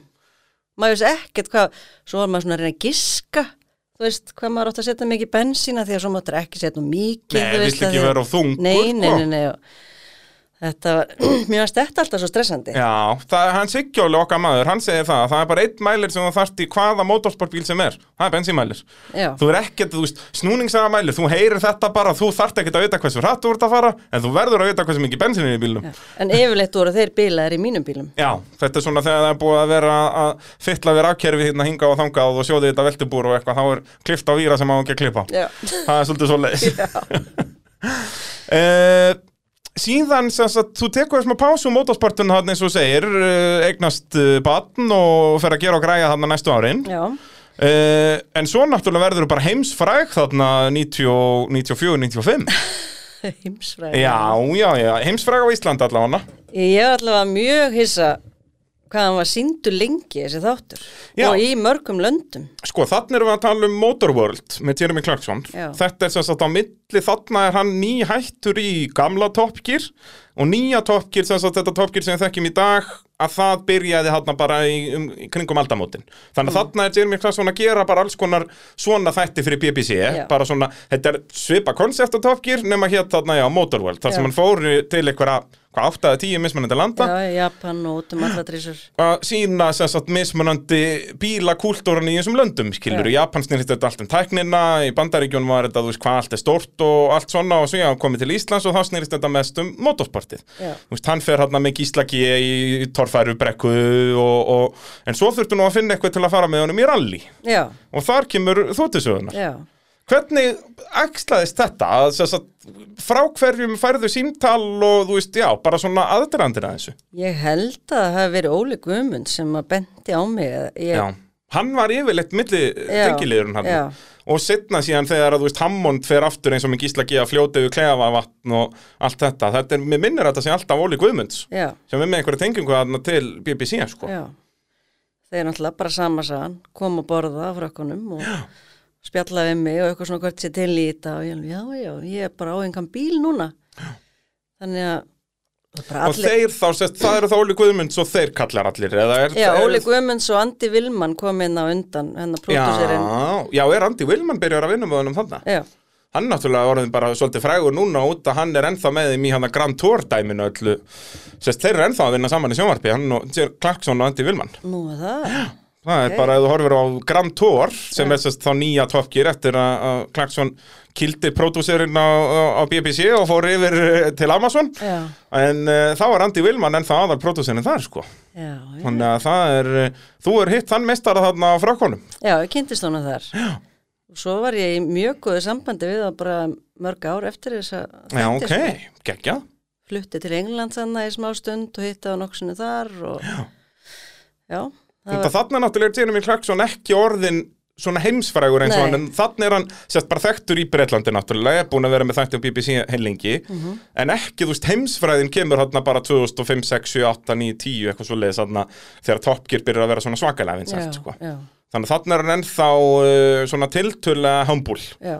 B: Maður veist ekkert hvað, svo var maður svona að reyna að giska, þú veist, hvað maður átt að setja mikið bensína því að svo maður ekki setja nú mikið.
A: Nei,
B: þú
A: vill
B: að
A: ekki
B: því-
A: vera of þungur,
B: Nei, nei,
A: sko.
B: nei, nei. og Þetta var, mér varst þetta alltaf svo stressandi.
A: Já, það, hann Siggjóli okkar maður, hann segir það, það er bara einn mælir sem þú þarft í hvaða motorsportbíl sem er, það er bensínmælir.
B: Já.
A: Þú er ekkert, þú veist, snúningsaða mælir, þú heyrir þetta bara, þú þarft ekkert að vita hversu hratt þú ert að fara, en þú verður að vita hversu mikið bensin er í bílnum. Já.
B: En yfirleitt voru þeir bílaðir í mínum bílum.
A: þetta er svona þegar það er búið að vera að fylla við rafkerfi hérna hinga og þangað og sjóði þetta veltubúr og eitthvað, þá er klift á víra sem á ekki að klippa.
B: Já.
A: Það er svolítið svo leiðis. síðan, sem sagt, þú tekur þessum að pásu um motorsportun hann eins og þú segir, eh, eignast batn og fer að gera og græja þarna næstu árin.
B: Já,
A: Uh, en svo náttúrulega verður þú bara heimsfræg þarna 94-95.
B: heimsfræði.
A: já, já, já, heimsfræg á Íslandi allavega.
B: Ég var allavega mjög hissa hvað hann var síndur lengi þessi þáttur
A: Já.
B: og í mörgum löndum
A: Sko, þarna erum við að tala um Motorworld með Jeremy Clarkson.
B: Já.
A: Þetta er sem sagt á milli, þarna er hann nýhættur í gamla Top Gear og nýja Top Gear, sem sagt þetta Top Gear sem við þekkjum í dag, að það byrjaði hann bara í, um, í kringum aldamótin.
B: Mm.
A: Þannig að þarna er Jeremy Clarkson að gera bara alls konar svona þætti fyrir BBC,
B: Já.
A: eh? bara svona, þetta er svipa konsept á Top Gear, nema hér þarna, já, Motorworld, þar
B: Já.
A: sem hann fór til einhverja, hvað, 8 eða 10 mismunandi landa
B: Já, í Japan og út um alladrísur
A: að sína sem sagt mismunandi bílakúltúran í þessum löndum skilur, í Japan snýrist þetta allt um tæknina í Bandaríkjunum var þetta, þú veist, hvað allt er stórt og allt svona og svo já, hann komið til Íslands og þá snýrist þetta mest um motorsportið
B: Já.
A: þú veist, hann fer hann með gíslagi í torfærubrekku og, og, en svo þurftu nú að finna eitthvað til að fara með honum í rally
B: Já,
A: og þar kemur þóttisögunar
B: já
A: Hvernig æxlaðist þetta að sem sagt, frá hverjum færðu símtal og þú veist, já, bara svona aðdrandina þessu?
B: Ég held að það hafi verið Óli Guðmund sem að benti á mig að ég,
A: Já, hann var yfirleitt milli
B: Já,
A: tengiliðurinn hann
B: já.
A: og setna síðan þegar að þú veist Hammond fer aftur eins og með gísla að fljóta yfir klefavatn og allt þetta þetta er, mér minnir að þetta sé alltaf Óli Guðmunds
B: já,
A: sem er með einhverja tengingu þarna til BBC sko.
B: já. Þeir náttúrulega bara samasagan, kom að borða af rökkunum og spjalla við mig og eitthvað svona hvert sér til í þetta og ég, alveg, já, já, ég er bara á engan bíl núna. Já. Þannig að og bara
A: og
B: allir,
A: þeir þá, sest, það eru þá Óli Guðmunds og þeir kallar allir eða er,
B: já,
A: er,
B: Óli Guðmunds og Andi Vilmann kom inn á undan, hérna hennar pródúsirinn.
A: Já, já, er Andi Vilman byrjar að vinna með honum þarna
B: Já,
A: Hann náttúrulega orðin bara svolítið frægur núna út að hann er ennþá með þeim í hann að Grand Tour dæminu öllu Sest, Þeir eru ennþá að vinna saman í sjónvarpi hann og Clarkson og Andi Vilman
B: nú er það.
A: Það er
B: Ok.
A: bara að þú horfir á Grand Tour sem er sérst þá nýja Top Gear eftir að að Clarkson kildi pródúserinn á, á- á BBC og fór yfir eh, til Amazon
B: Já,
A: en uh, þá er Andy Willman ennþá aðal pródúserinn þar sko
B: já, já.
A: þannig að það er, eh, þú er hitt þann meistara þarna á frákonum
B: Já, ég kynntist hana þar. Já. Og svo var ég í mjög góðu sambandi við það bara mörg ár eftir þess að
A: Já,
B: þætti,
A: ok,
B: sko.
A: geggja
B: flutti til England þannig í smá stund og hitti á nokksunni þar og já, það
A: Þetta
B: var,
A: þarna náttúrulega er Jeremy Clarkson ekki orðin svona heimsfrægur eins og
B: Nei.
A: hann en þarna er hann sérst bara þekktur í Breitlandi náttúrulega, er búin að vera með þætti á BBC heilingi,
B: Mhm.
A: en ekki þú veist heimsfræðin kemur hann bara 2005, 6, 7, 8, 9, 10 eitthvað svo leiðis þarna þegar Top Gear byrjar að vera svona svakalega
B: já,
A: vinsælt sko.
B: já,
A: Þannig að þarna er hann ennþá uh, svona tiltölulega humble.
B: já.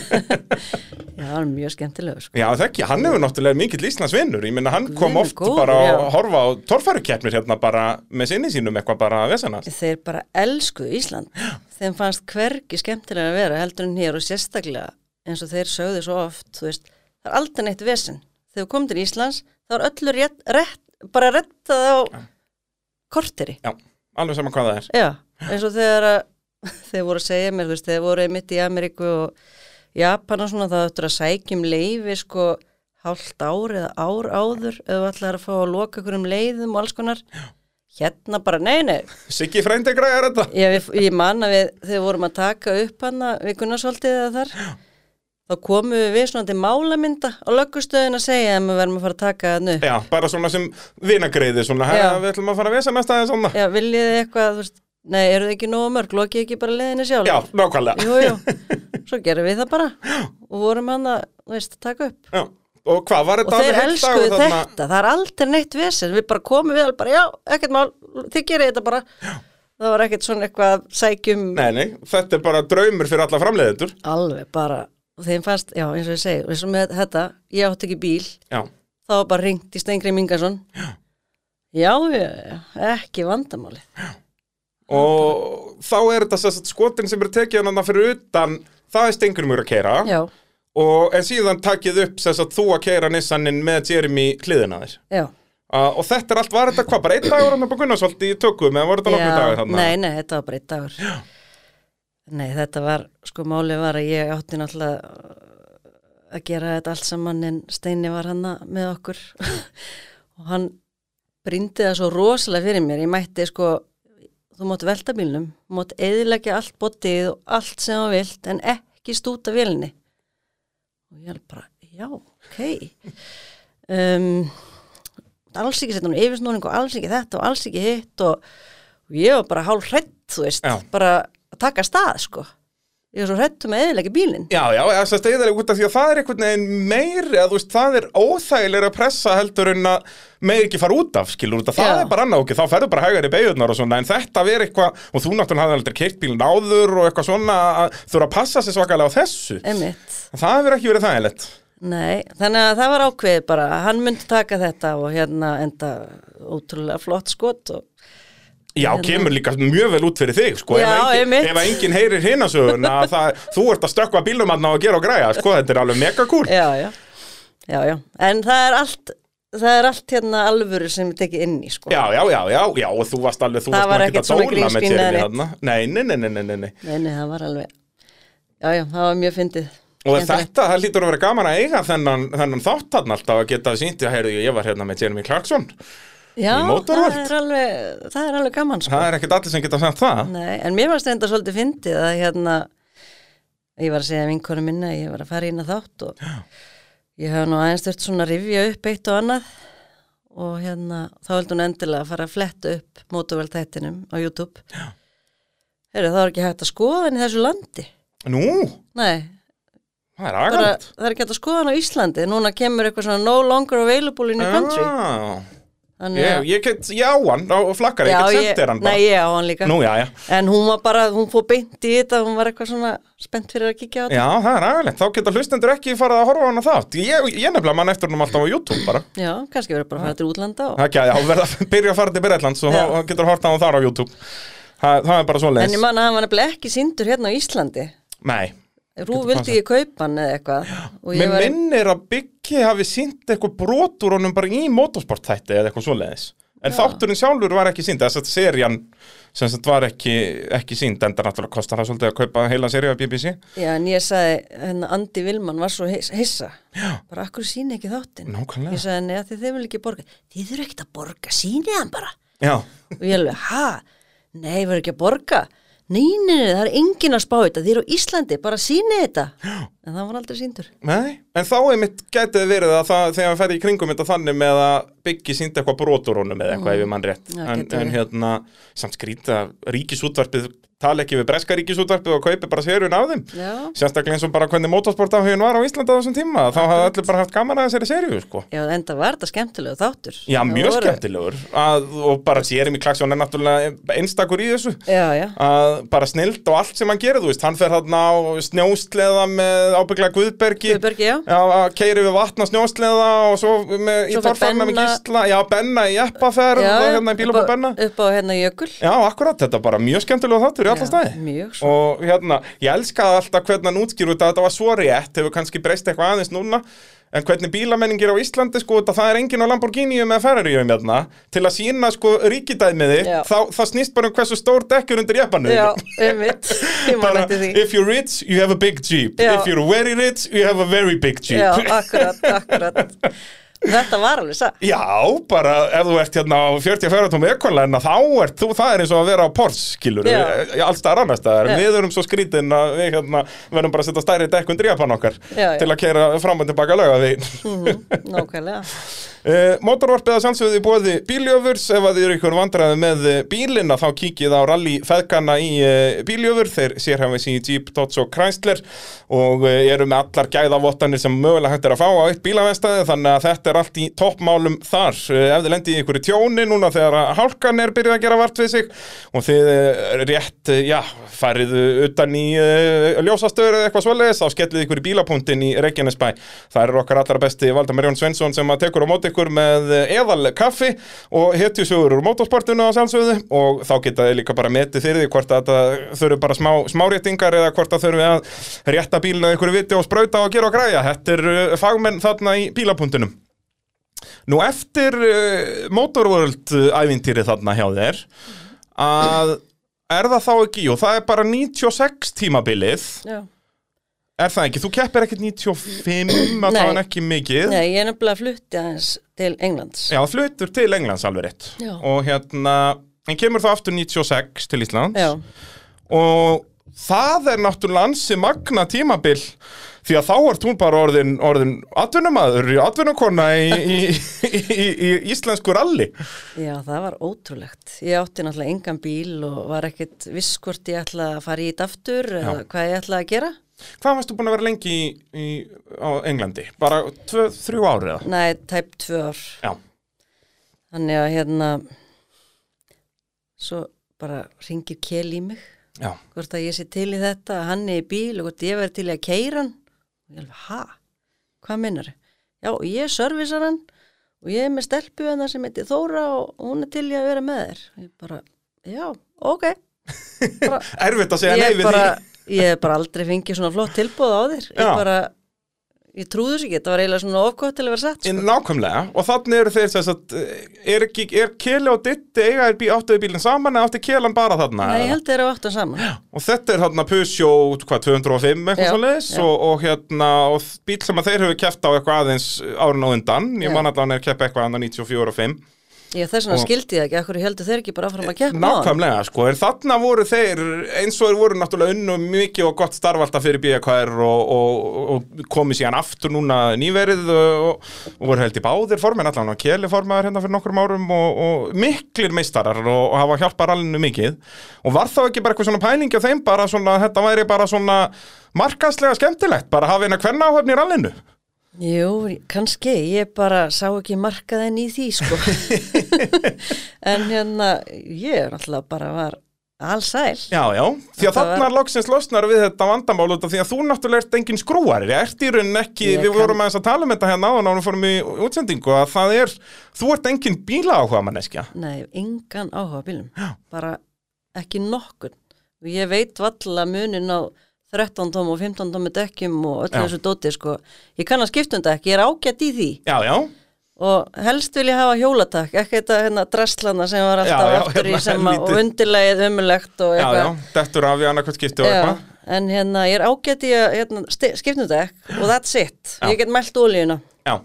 B: já, það var mjög skemmtilegur sko.
A: Já, það ekki, hann hefur náttúrulega mikill Íslandsvinnur, ég minna hann kom
B: Guð minn
A: oft
B: góður,
A: bara
B: já.
A: að horfa á torfærukeppnir hérna bara með sinni sínum eitthvað bara að vesenast.
B: Þeir bara elsku Ísland þeim fannst hvergi skemmtilega að vera heldur en hér og sérstaklega eins og þeir sögðu svo oft, þú veist það er aldrei neitt vesinn, þegar við komum til Íslands þá er öllu rétt, rétt bara rettað á korteri
A: Já, alveg sama hvað það er.
B: Já, eins og þegar að, þeir voru að segja mér, þú veist, þeir voru einmitt í Ameríku og Japan og svona það öttur að sækjum leifi sko hálft ár eða ár áður ef við ætlar að fá að loka ykkur um leiðum og alls konar hérna bara, nei, nei
A: Siggi frændi græjar þetta.
B: ég, við, ég man að við, þegar vorum að taka upp hana við Gunnarsvaldið eða þar þá komum við við svona til málamynda á löggustöðin að segja að við verðum að fara að taka hann upp
A: Já, bara svona sem vinagreiði, svona,
B: Já.
A: "Hæ, við ætlum að fara að vesa næsta aðeins svona.
B: Já, viljið þið eitthvað, þú veist, nei, eru þið ekki nógu mörg lokið ekki bara leiðinni sjálf
A: Já, nákvæmlega.
B: Jú, jú, svo gerum við það bara og vorum hann að, þú veist, taka upp
A: Já. Og hvað var
B: og
A: þetta
B: þeir
A: alveg heill
B: elskuðu
A: dagur þarna?
B: þetta, það er aldrei neitt vesir við bara komum við alveg bara, já, ekkert mál þið gerir þetta bara já. það var ekkert svona eitthvað að sækjum
A: Nei, nei, þetta er bara draumur fyrir alla framleiðendur.
B: alveg bara, og þeim fannst já, eins og ég segi, eins og með þetta ég átti ekki bíl,
A: Já.
B: þá var bara ringt í Stengri Mingason já, já, já, ekki vandamáli
A: Og þá er þetta sess, skotin sem eru tekið hann þarna fyrir utan, það er stengurumur að keira.
B: já,
A: Og en síðan takið upp sess, að þú að keira nissaninn með Jeremy hliðina þér.
B: já
A: Uh, og þetta er allt, var þetta hvað, bara einn dagur hann upp á Gunnarsvaldi í tökum, eða voru þetta nokkuð dagur þarna?
B: Nei, nei, þetta var bara einn dagur já. Nei, þetta var, sko málið var að ég átti náttúrulega að gera þetta allt saman en Steini var hanna með okkur og hann brindi það svo rosalega fyrir mér, ég mætti sko þú mátt velta bílnum þú mátt eðilegja allt bótið og allt sem þú vilt en ekki stúta vélni og ég er bara, já, ok um, alls ekki setja hún yfirsnúning og alls ekki þetta og alls ekki hitt og, og ég var bara hálf hrætt, þú veist
A: Já.
B: bara að taka stað, sko ég var svo hrettum að eðilega bílinn
A: Já, já, þess að stegðar út af því að það er einhvern veginn meiri, að þú veist, það er óþægilega pressa heldur en að meir ekki fara út af, skilur, út af það
B: Já.
A: er bara annað okkur, þá ferðu bara hægari beigurnar og svona, en þetta veri eitthvað, og þú náttúrulega hafði aldrei keirt bílinn áður og eitthvað svona, að þurfa að passa sér svakalega á þessu.
B: Einmitt.
A: Það hefur ekki verið þægilegt.
B: Nei, þannig að það var ákveðið bara að hann myndi taka þetta og hérna enda ótrúlega flott skot og
A: Já, kemur líka mjög vel út fyrir þig, sko,
B: Já,
A: ef, að engin,
B: einmitt.
A: ef að enginn heyrir hinasögun að það, þú ert að stökkva bílum að og gera og græja, sko, þetta er alveg mega cool.
B: já, já, já, já. En það er allt, það er allt hérna alvöru sem er tekið inn í sko.
A: Já, já, já, já, já, og þú varst alveg, þú
B: Það
A: varst
B: var
A: nú ekkert
B: ekkert svona
A: dóla með þér
B: grín spínað
A: við
B: neitt.
A: þarna. Nei, nei, nei, nei, nei, nei, nei.
B: Nei, nei, það var alveg, já, já, það var mjög fyndið.
A: Og
B: Skemmtilegt.
A: þetta, það lítur að vera gaman að eiga þennan, þennan þáttarn alltaf að geta sýnt að heyrðu, ég var hérna með Jeremy Clarkson. í
B: Já, það
A: Motorworld.
B: er alveg, það er alveg gaman sko.
A: Það er ekkert allir sem geta sagt það.
B: Nei, en mér varst þetta svolítið fyndið að hérna, ég var að segja vinkonu minna, ég var að fara inn að þátt og ég hef nú aðeins þurft svona að rifja upp eitt og annað og hérna, þá vildi hún endilega að fara að fletta upp mótuveltættinum á YouTube. Já. Heyrðu, það var ekki hægt að skoða hann í þessu landi.
A: Nú,
B: Nei,
A: það er
B: bara,
A: agant.
B: það er ekki hægt að skoða hann á Íslandi. Núna kemur eitthvað svona no longer available in your country. Þannig
A: Ah, Ég,
B: að-
A: ég get, já, hann á flakkar, ég
B: Já,
A: get
B: ég,
A: sendir hann bara.
B: nei, ég á hann líka.
A: Nú, já, já.
B: En hún var bara, hún fór beint í þetta, hún var eitthvað svona spennt fyrir að kíkja á þetta.
A: Já, það er agalegt. Þá geta hlustendur ekki farið að horfa á hann á þátt. Ég, ég nefnilega mann eftir hann alltaf á YouTube bara.
B: Já, kannski verið bara að fara til útlanda og...
A: Það er ekki að já, verða að byrja að fara til Byrjalland svo
B: Já.
A: þá getur horta á hann þar á YouTube. Það, það er bara svo
B: En ég man að hann var nefnilega ekki sindur hérna á Íslandi.
A: Nei,
B: Rú vildi ég kaupa hann eða eitthvað. Og ég
A: Mér
B: var...
A: minnir að Byggi hafi sínt eitthvað brot úr honum bara í motorsportþætti eða eitthvað svoleiðis. En þátturinn sjálfur var ekki sínt, þess að serían sem sagt var ekki, ekki sínt, enda náttúrulega kostar það svolítið að kaupa heila seríu af BBC.
B: Já, en ég sagði, hérna, Andi Vilman var svo his- hissa. Já. Bara, akkur síni ekki þáttinn? Ég
A: Nákvæmlega.
B: sagði, neða, þið þeim vil ekki borga. Þið þurfa ekkert að borga, síni hann bara.
A: Já,
B: Og ég alveg, ha? Nei, við erum ekki að borga. Nei, nei, nei, það er engin að spá þetta. Þið eru á Íslandi, bara síni þetta. Já. En það var aldrei síndur.
A: nei. En þá einmitt gætið verið að það, þegar við ferði í kringum þetta þannig með að Byggi sínt eitthvað brot úr honum eða eitthvað ef ég mann rétt.
B: Mm, Já,
A: en,
B: getur
A: en
B: verið.
A: hérna, samt skrýta, ríkisútvarpið tala ekki við breska ríkisútvarpið og kaupi bara seríun af þeim.
B: Já.
A: Sérstaklega eins og bara hvernig motorsportafhugin var á Íslanda á þessum tíma, þá hafði allir bara haft gaman að þessari serju, sko.
B: Já, enda var þetta skemmtilegu þáttur.
A: Já,
B: Það
A: mjög
B: voru-
A: skemmtilegur að, og bara Jeremy Clarkson er náttúrulega einstakur í þessu
B: Já, já,
A: að bara snilt og allt sem hann gerir, þú veist, hann fer þarna á snjósleða með ábygglega Guðbergi
B: Guðbergi, já.
A: Já, að keiri við vatna snjósleða og svo með, í
B: Svo fer
A: Þorfarna með
B: Benna-
A: Gísla, já, Benna í Eppaferð
B: já
A: og hérna í bílum og Benna
B: Upp á hérna jökul.
A: Já, akkurat, þetta er bara mjög skemmtilega þáttur í alla
B: Já,
A: staði.
B: mjög svo.
A: Og hérna, ég elskaði alltaf hvernig hann útskýr út að þetta var svo rétt, hefur kannski breyst eitthvað aðeins núna, en hvernig bílamenningir á Íslandi, sko, þetta það er enginn á Lamborghinium eða Ferrarium hérna, til að sína, sko, ríkidæmiði,
B: Já.
A: þá, það snýst bara um hversu stór dekkjur undir jeppanuðinu.
B: Já, einmitt. Ég man
A: Bara,
B: eftir því.
A: if you're rich, you have a big jeep
B: Já.
A: If you're very rich, you have a very big jeep
B: Já, akkurat, akkurat. Þetta var alveg satt.
A: Já, bara ef þú ert hérna á 44 tómi ekolenna þá ert þú, það er eins og að vera á Porsche, skilur
B: Já.
A: allstaðar annars staðar,
B: Já.
A: við erum svo skrítin að við hérna verðum bara að setja stærri dekkun drjapan okkar
B: Já, já.
A: til að keira fram og tilbaka löga því
B: Nákvæmlega.
A: uh, Motorvarpið að sjálfsögðu í bóði bíljöfurs ef að þið eru ykkur vandræði með eh, bílinn að þá kíkið á rally feðkana í uh, bíljöfur, þeir sérhæfum í Jeep, Dodge og Chrysler og uh, eru með allar gæðavottanir sem mögulega hægt er að fá á eitt bílavenstæði þannig að þetta er allt í toppmálum þar uh, ef þið lendi í ykkur tjóni núna þegar að hálkan er byrjuð að gera vart við sig og þið eh, rétt, eh, já, farið eh, utan í uh, ljósastöru eða eitthvað svoleiðis, þá skellið ykkur í bílapunktin í Reykjanesbæ. Það er okkar allra besti Valdamar Jón Svensson sem að tekur á móti ykkur með eh, eðal kaffi og hetju sögur úr motorsportinu að sjálfsögðu og þá geta þið líka bara metið fyrir því hvort að þetta þurfi bara smá, smáréttingar eða hvort að þurfi að rétta bílina að ykkur viti og sprauta og gera og græja. Þetta er eh, fagmenn þarna í bílapunktinum. Nú eftir uh, Motorworld ævintýri þarna hjá þér að er það þá ekki, jú, það er bara 96 tímabilið,
B: Já.
A: er það ekki, þú keppir ekkert 95, að það
B: Nei.
A: er ekki mikið
B: Nei, ég er nefnilega flutti aðeins til Englands.
A: Já, flutur til Englands alveg rétt
B: Já.
A: og hérna, en kemur þá aftur 96 til Íslands
B: Já,
A: og það er náttúrulega ansi magna tímabil því að þá ert hún bara orðin, orðin atvinnumadur, atvinnukona í, í, í, í, í íslensku ralli
B: Já, það var ótrúlegt. Ég átti náttúrulega engan bíl og var ekkit viss hvort ég ætla að fara í þetta aftur eða hvað ég ætla að gera.
A: Hvað varst þú búin að vera lengi í, í, á Englandi? Bara tvö, þrjú ári eða?
B: Nei, tæp tvö ár.
A: Já,
B: Þannig að hérna, svo bara ringir kel í mig,
A: já,
B: hvort að ég sé til í þetta, að hann er í bíl og hvort ég verði til í að keira hann. Og ég alveg, ha? Hvað minnar? Já, ég servisar hann og ég er með stelpu hennar sem heitir Þóra og hún er til í að vera með þér. Og Ég bara, já, ok. Bara,
A: erfitt að segja nei
B: ég
A: við
B: bara,
A: því
B: ég hef bara aldrei fengið svona flott tilbúð á þér ég
A: Já.
B: bara, ég trúðu sér ekki þetta var eiginlega svona ofgótt til að vera satt
A: En
B: sko.
A: Nákvæmlega, og þannig eru þeir sem sagt, eh, er, ekki, er Keli og Ditti eiga er bí, áttuði bílinn saman eða átti Kelan bara þarna?
B: Nei,
A: eða?
B: ég held þeirra áttan saman
A: Og þetta er hérna Pusjó, hvað, 205 eitthvað
B: Já,
A: svoleiðis
B: já.
A: og, og hérna, og bíl sem að þeir hefur keppt á eitthvað aðeins árun og undan, ég
B: Já.
A: man að hann er keppt eitthvað andan 94 og 5
B: ég þess vegna
A: Og-
B: skildi það ekki, akkur heldur þeir ekki bara áfram að keppa á hann?
A: Nákvæmlega, sko, en þarna voru þeir eins og þeir voru náttúrulega unnu mikið og gott starfalta fyrir BKR og, og, og komið síðan aftur núna nýverið og, og voru held í báðir formin allan og Keli formaður hérna fyrir nokkrum árum og, og miklir meistarar og, og hafa hjálpað rallinu mikið og var þá ekki bara eitthvað svona pælingi á þeim bara svona, þetta væri bara svona markaslega skemmtilegt, bara hafa eina kvenna áhöfni í rallinu
B: Jú, kannski, ég bara sá ekki markaðin í því sko. en hérna ég náttúrulega bara var allsæl
A: Já, já, því að
B: Þetta
A: þarna
B: var-
A: loksins losnar við þetta vandamál út af því að þú náttúrulega ert engin skrúari, ég ert í raunin ekki,
B: Ég
A: við
B: kann-
A: vorum aðeins að tala um þetta hérna áðan og við fórum í útsendingu að það er, þú ert engin bíla áhuga manneskja.
B: Nei, engan áhuga á bílum. Bara ekki nokkun. Og ég veit valla munin á 13 tóm og 15 tómu dekkjum og öllu
A: Já.
B: þessu dóti, sko. Ég kann að skipta um dekk, ég er ágætt í því.
A: Já, já,
B: Og helst vil ég hafa hjólatak, ekki þetta hérna draslana sem var alltaf
A: Já, já,
B: aftur í
A: hérna,
B: sem að,
A: helvítið.
B: og undirlegið umulegt og
A: já,
B: eitthvað.
A: já, dettur af í annarkvæmt skipti og
B: Já,
A: eitthvað.
B: en hérna, ég er ágætt í að hérna, skiptum dekk og that's it.
A: Já.
B: Ég get mælt ólíuna.
A: Já,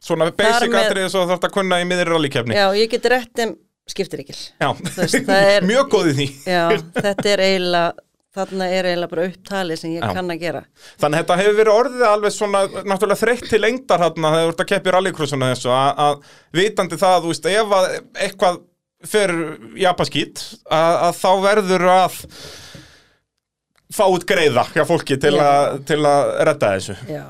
A: svona basic
B: með-
A: atriði svo þarf þetta að kunna í miðri rallykefni.
B: Já, ég get réttum skiptiríkil.
A: Já,
B: veist, það er-
A: mjög góð í því.
B: Já, þetta er eiginlega, þarna er eiginlega bara upptalið sem ég
A: Já.
B: kann að gera.
A: Þannig að þetta hefur verið orðið alveg svona náttúrulega þreytt til lengdar hérna þegar þú ert að keppi rallycrossuna þessu að, að vitandi það að þú veist ef að eitthvað fer japaskýt að, að þá verður að fá út greiða hjá fólki til,
B: Já.
A: að, til að redda þessu
B: Já,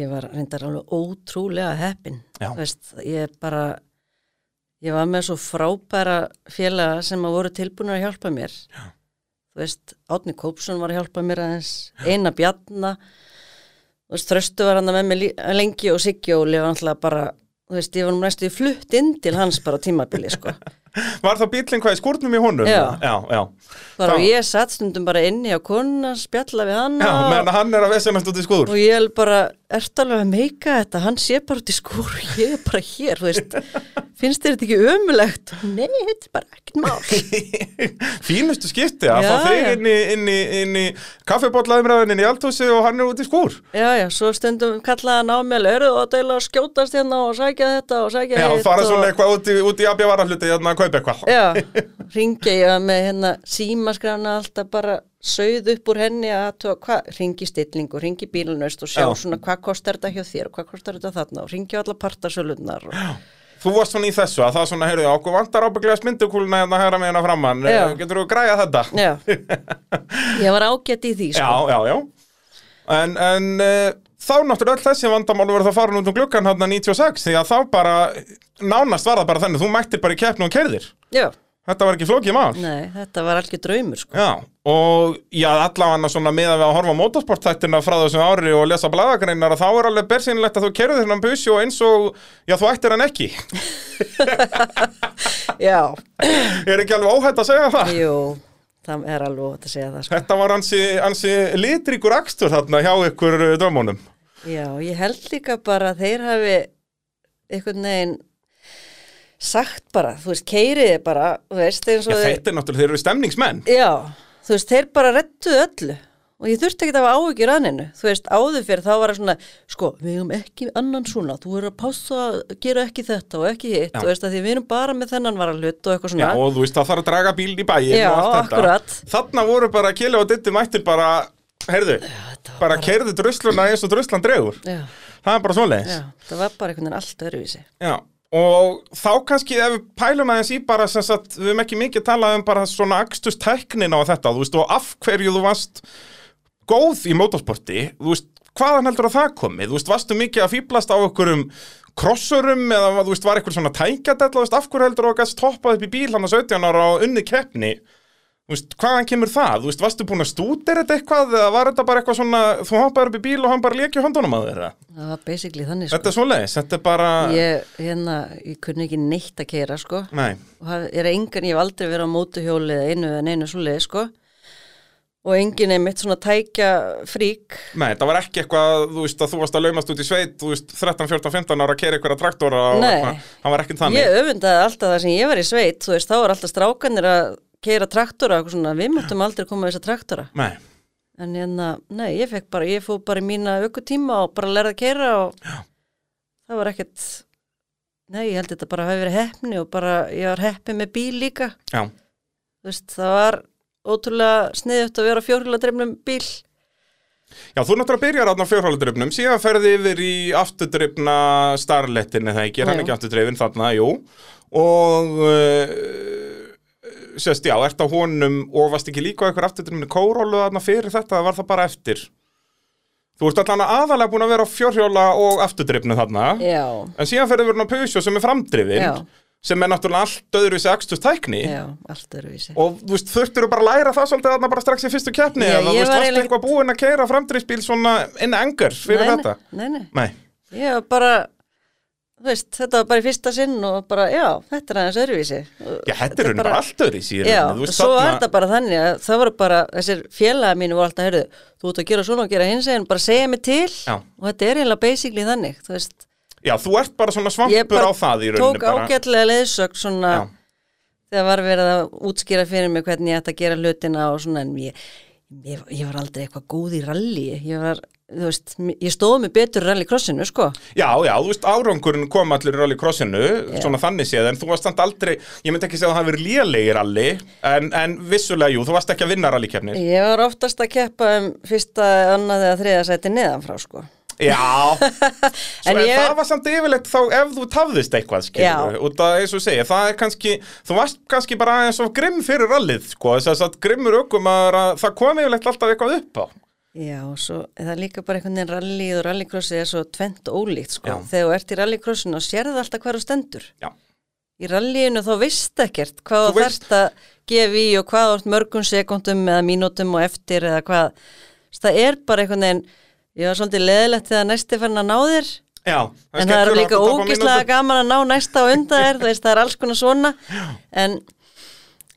B: ég var reyndar alveg ótrúlega heppin.
A: Já.
B: Þú Veist, ég bara, ég var með svo frábæra félaga sem að voru tilbúin að hjálpa mér. Já. Þú veist, Átni Kópsson var að hjálpa mér aðeins, Einar Bjarna, þú veist, Þröstu var hann með mér lí- lengi og Siggi Óli var náttúrulega bara, þú veist, ég var nú næstu í flutt inn til hans bara á tímabili, sko.
A: Var þá bílinn hvað í skúrnum í honum?
B: Já.
A: já, já,
B: Bara
A: Já.
B: og ég satt stundum bara inni á konuna, spjalla við hann
A: já meðan að hann er að vesemast út í skúr
B: og ég er bara, ertu alveg að meika þetta hann sé bara út í skúr og ég er bara hér, þú veist, finnst þér þetta ekki ömulegt? Nei, þetta er bara ekkert mál
A: Fínustu skipti að
B: Já,
A: fá þig
B: já.
A: inn í, inn í, inn í kaffibóllaðumræðin inn í eldhúsi og hann er út í skúr
B: Já, já, svo stundum kallaði hann á mig alveg, eru þú að deila að skjótast hérna og sækja þetta og sækja
A: Já,
B: hitt
A: fara
B: og-
A: svona eitthvað út í, út í abja varahluti hérna að kaupa eitthvað
B: Já, ringja ég með hérna símaskrana alltaf bara sögð upp úr henni að athuga hvað, ringi stillingu, ringi bílunust og sjá
A: Já.
B: svona hvað kostar þetta hjá þér og hvað kostar þetta þarna og ringi á alla partasölunar og
A: Þú varst svona í þessu að það svona, heyrðu, okkur vantar ábygglega smyndukúluna hérna hæra með hérna framann,
B: Já.
A: Eh, getur þú græjað þetta?
B: Já, ég var ágætt í því sko.
A: Já, já, já. En, en uh, þá náttúrulega öll þessi vandamál voru það farin út um gluggan hérna 96 því að þá bara, nánast var það bara þannig, þú mættir bara í keppnu og kerðir.
B: Já,
A: Þetta var ekki flókið mál.
B: nei, þetta var algjör draumur sko.
A: Já, og já, allavega svona meðan við að horfa á motorsportþættina frá þessum ári og lesa blaðagreinar að þá er alveg bersýnilegt að þú kerðir hennan busi og eins og, já, þú ættir hann ekki.
B: Já,
A: er ekki alveg óhætt að segja það?
B: jú, það er alveg ótt að segja það sko.
A: Þetta var ansi, ansi litrikur akstur þarna hjá ykkur uh, dömunum.
B: Já, ég held líka bara að þeir hafi einhvern veginn sagt bara, þú veist, keiriði bara, þú veist, eins
A: Já,
B: og þeir,
A: þetta er náttúrulega, þeir eru stemningsmenn.
B: já, þú veist, þeir bara rettuðu öllu og ég þurfti ekki að hafa áhyggjur af neinu, þú veist, áður fyrir þá var það svona, sko, við erum ekki annan svona, þú verður að pása að gera ekki þetta og ekki hitt,
A: Já.
B: þú veist, að því við erum bara með þennan varalut og eitthvað
A: Já,
B: svona.
A: og þú veist, það þarf að draga bíl í bæin
B: Já,
A: og allt þetta.
B: akkurat.
A: Þarna voru bara Kili og Ditti mættir bara Herðu,
B: þetta var
A: bara kerðu drusluna eins og druslan dregur.
B: Já,
A: Það er bara svoleiðis.
B: já, það var bara einhvern veginn allt öðruvísi.
A: Já, og þá kannski ef við pælum aðeins í bara sem sagt, við höfum ekki mikið talað um bara svona akstust tæknina og þetta, þú veist, og af hverju þú varst góð í motorsporti, þú veist, hvaðan heldur að það komið, þú veist, varstu mikið að fýblast á einhverjum krossurum eða þú veist, var einhver svona tækjadell, þú veist, af hverju heldur að gæst toppað upp í bíl hann á 17 ára og unni keppni, þú veist, hvaðan kemur það, þú veist, varstu búin að stútir þetta eitthvað eða var þetta bara eitthvað svona, þú hoppaður upp í bíl og hann bara lékja höndunum að þeirra,
B: Það var basically þannig, sko.
A: þetta er svoleiðis, þetta er bara,
B: Ég, hérna, ég kunni ekki neitt að keira, sko.
A: nei.
B: og haf, er engan, ég hef aldrei verið á mótuhjóli eða einu en einu svoleið sko og enginn er mitt svona tækja frík
A: Nei, það var ekki eitthvað, þú veist, að þú varst að laumast út í sveit, þú veist, 13, 14, 15 ára að kera einhverja traktora og
B: Nei.
A: eitthvað. það var ekki þannig.
B: ég öfundaði alltaf það sem ég var í sveit þú veist, þá var alltaf strákanir að keira traktora og eitthvað svona, við möttum aldrei koma þess að traktora
A: Nei,
B: en hérna, nei, ég fekk bara, ég fóð bara í mína aukutíma og bara lærði að keira og
A: Já.
B: það var ekkert nei, ég held þetta bara hafi verið heppni og bara, ég var heppni með bíl líka
A: já,
B: þú veist, það var ótrúlega sniðjögt að vera fjórhjóla drefnum bíl
A: já, þú náttúrulega byrjar aðna á fjórhóladrifnum, síðan ferði yfir í afturdrifna starlettin, eða ekki, er hann
B: Jú.
A: ekki afturdrifin þarna, jú, og uh, sérst, já, ert á honum og varst ekki líka á einhver afturdrifni kórólu þarna fyrir þetta, það var það bara eftir. Þú ert allan aðalega búin að vera á fjórhjóla og afturdrifnu þarna.
B: já,
A: En síðan ferðum við hann á Peugeot sem er framdrifin
B: Já.
A: sem er náttúrulega allt öðruvísi akstust tækni
B: Já, allt öðruvísi.
A: og þú veist, þurftur bara að læra það svolítið þarna bara strax í fyrstu keppni
B: Já,
A: eða þú veist,
B: ég var
A: varstu
B: eiginlega-
A: eitthvað búinn að keira framdrifsbíl svona inn engar fyrir
B: nei,
A: þetta?
B: Nei, nei,
A: Nei,
B: ég var bara, þú veist, þetta var bara í fyrsta sinn og bara, já, þetta er aðeins öðruvísi.
A: já, þetta er raunin bara allt öðruvísi í
B: Já,
A: rauninni, þú
B: og
A: veist,
B: svo var
A: þarna-
B: þetta bara þannig að það voru bara, þessir félaga mínu voru alltaf, heyrðu, þú ert að gera svona og gera hins en bara segja mig til
A: Já.
B: og þetta er eiginlega basically þannig, þú veist.
A: Já, þú ert bara svona svampur
B: Ég bara
A: á það í rauninni
B: Tók
A: bara.
B: ágætlega leiðsögn svona,
A: Já.
B: þegar var verið að útskýra fyrir mig hvernig ég ætti að gera hlutina og svona, en ég, ég, ég var aldrei eitthvað góð í rally, ég var, þú veist, ég stóð mig betur í rallycrossinu, sko.
A: Já, já, þú veist, árangurinn kom allir í rallycrossinu, svona þannig séð, en þú varst samt aldrei, ég myndi ekki segja að það hafi verið lélegir rally, en, en vissulega, jú, þú varst ekki að vinna rallykefnir.
B: Ég var oftast að keppa um fyrsta, annað eða þriða sæti neðanfrá sko.
A: Já, Svo,
B: En
A: en
B: ég-
A: það var samt yfirleitt þá ef þú tafðist eitthvað, skilur
B: Já.
A: og það, eins og ég segi, það er kannski þú varst kannski bara eins og grimm fyrir rallið sko, þess að grimmur ökum að það kom yfirleitt alltaf eitthvað upp á
B: Já, og svo er það líka bara einhvern veginn rallið og rallycrossið er svo tvent ólíkt sko.
A: Já.
B: Þegar þú ert í rallycrossinu og sérðu alltaf hvar þú stendur.
A: Já,
B: Í ralliðinu þá veist ekkert hvað
A: Þú
B: þú
A: veist-
B: þarft að gefa í og hvað þú ert mörgum sekundum eða mínútum og eftir eða hvað. Þess, það er bara einhvern veginn, ég var svolítið leðilegt þegar næsti fann að ná þér.
A: já
B: en það er
A: skemmtilegt
B: líka
A: að tapa
B: ógislega
A: mínútu.
B: gaman að ná næsta og undan er, veist, það er alls konar svona en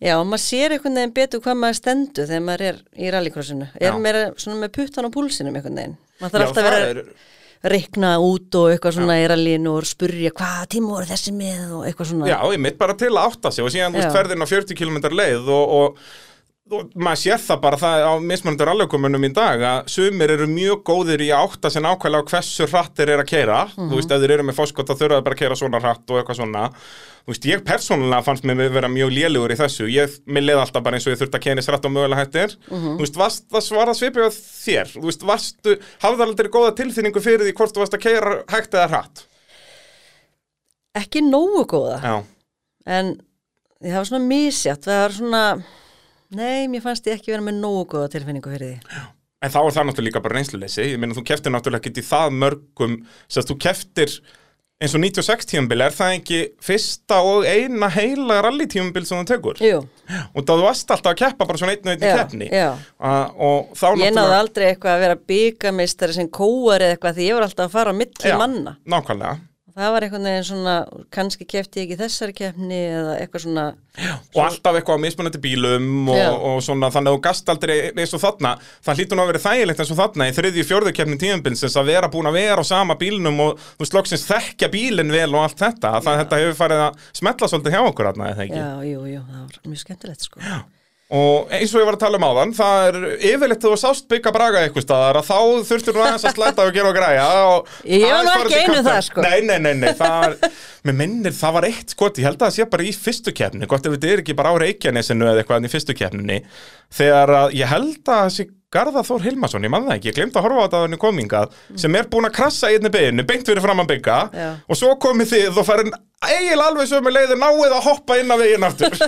B: já, maður sér einhvern veginn betur hvað maður stendur þegar maður er í rallycrossinu
A: Já.
B: er meira svona með puttan á púlsinum einhvern veginn maður þarf
A: Já,
B: alltaf að
A: það
B: vera að reikna út og eitthvað svona í rallinu og spurja hvaða tíma voru þessi með og eitthvað svona
A: Já, ég mitt bara til að átta sig og síðan þú veist,
B: Já.
A: ferðin á 40 km leið og, og, og maður sér það bara það á mismunandi rallykumunum í dag að sumir eru mjög góðir í að átta sig nákvæmlega á hversu hratt þeir eru að keira þú veist, ef þeir eru með fórskot þá þurfa þeir bara að keira svona hratt og eitthvað svona þú veist, ég persónulega fannst mér vera mjög lélugur í þessu ég, mér leið alltaf bara eins og ég þurfti að keira eins hratt og mögulega hættir þú veist, varst, það var það svipið á þér þú veist, varstu, hafði aldrei góða tilfinningu fyrir því hvort þú varst að keira hægt eða hratt
B: ekki nógu góða
A: Já,
B: en ég hafa svona misjátt það var svona, nei, mér fannst ég ekki vera með nógu góða tilfinningu fyrir því
A: En þá er það náttúrulega líka bara reynsluleysi, ég meina þú keftir náttúrulega ekki í það mörgum, sem þú keftir eins og 96 tíumbil, er það ekki fyrsta og eina heila rallytíumbil sem þú tekur?
B: Jú,
A: Og þá þú varst alltaf að keppa bara svona einn og einn í
B: já,
A: keppni.
B: já
A: A- Og þá
B: Ég náði aldrei eitthvað að vera byggameistari sem kóar eða eitthvað því ég var alltaf að fara á milli
A: Já.
B: manna.
A: Nákvæmlega.
B: Það var einhvern veginn svona, kannski kefti ég ekki í þessari keppni eða eitthvað svona,
A: Og alltaf eitthvað á mismunandi bílum
B: Já.
A: og, og svona, þannig að þú gast aldrei eins og þarna, það hlýtur nú að vera þægilegt eins og þarna í þriðju fjörðu keppni tíumbilsins að vera búin að vera á sama bílnum og þú slóksins þekkja bílinn vel og allt þetta, að það, þetta hefur farið að smetla svolítið hjá okkur þarna, eða ekki?
B: já, jú, jú, það var mjög skemmtilegt sko. Já.
A: Og eins og ég var að tala um áðan, það er yfirleitt þegar þú sást byggja braga eitthvað staðar að þá þurftur nú aðeins að slæta og gera og græja og
B: Ég var nú
A: aðeins fara út
B: ekki
A: í
B: einu
A: kantinn.
B: það, sko.
A: Nei, nei, nei, nei, það er, mér minnir það var eitt skot, ég held að það sé bara í fyrstu keppni, gott ef þetta er ekki bara á Reykjanesinu eða eitthvað en í fyrstu keppninni Þegar að ég held að þessi Garðar Þór Hilmarsson, ég man það ekki, ég glemt að horfa á þetta á henni komingað sem er búin að krassa í einni beinu, beint fyrir fram að bygga
B: Já.
A: og svo komið þið og farin eiginlega alveg sömu leið og náið að hoppa inn af veginn aftur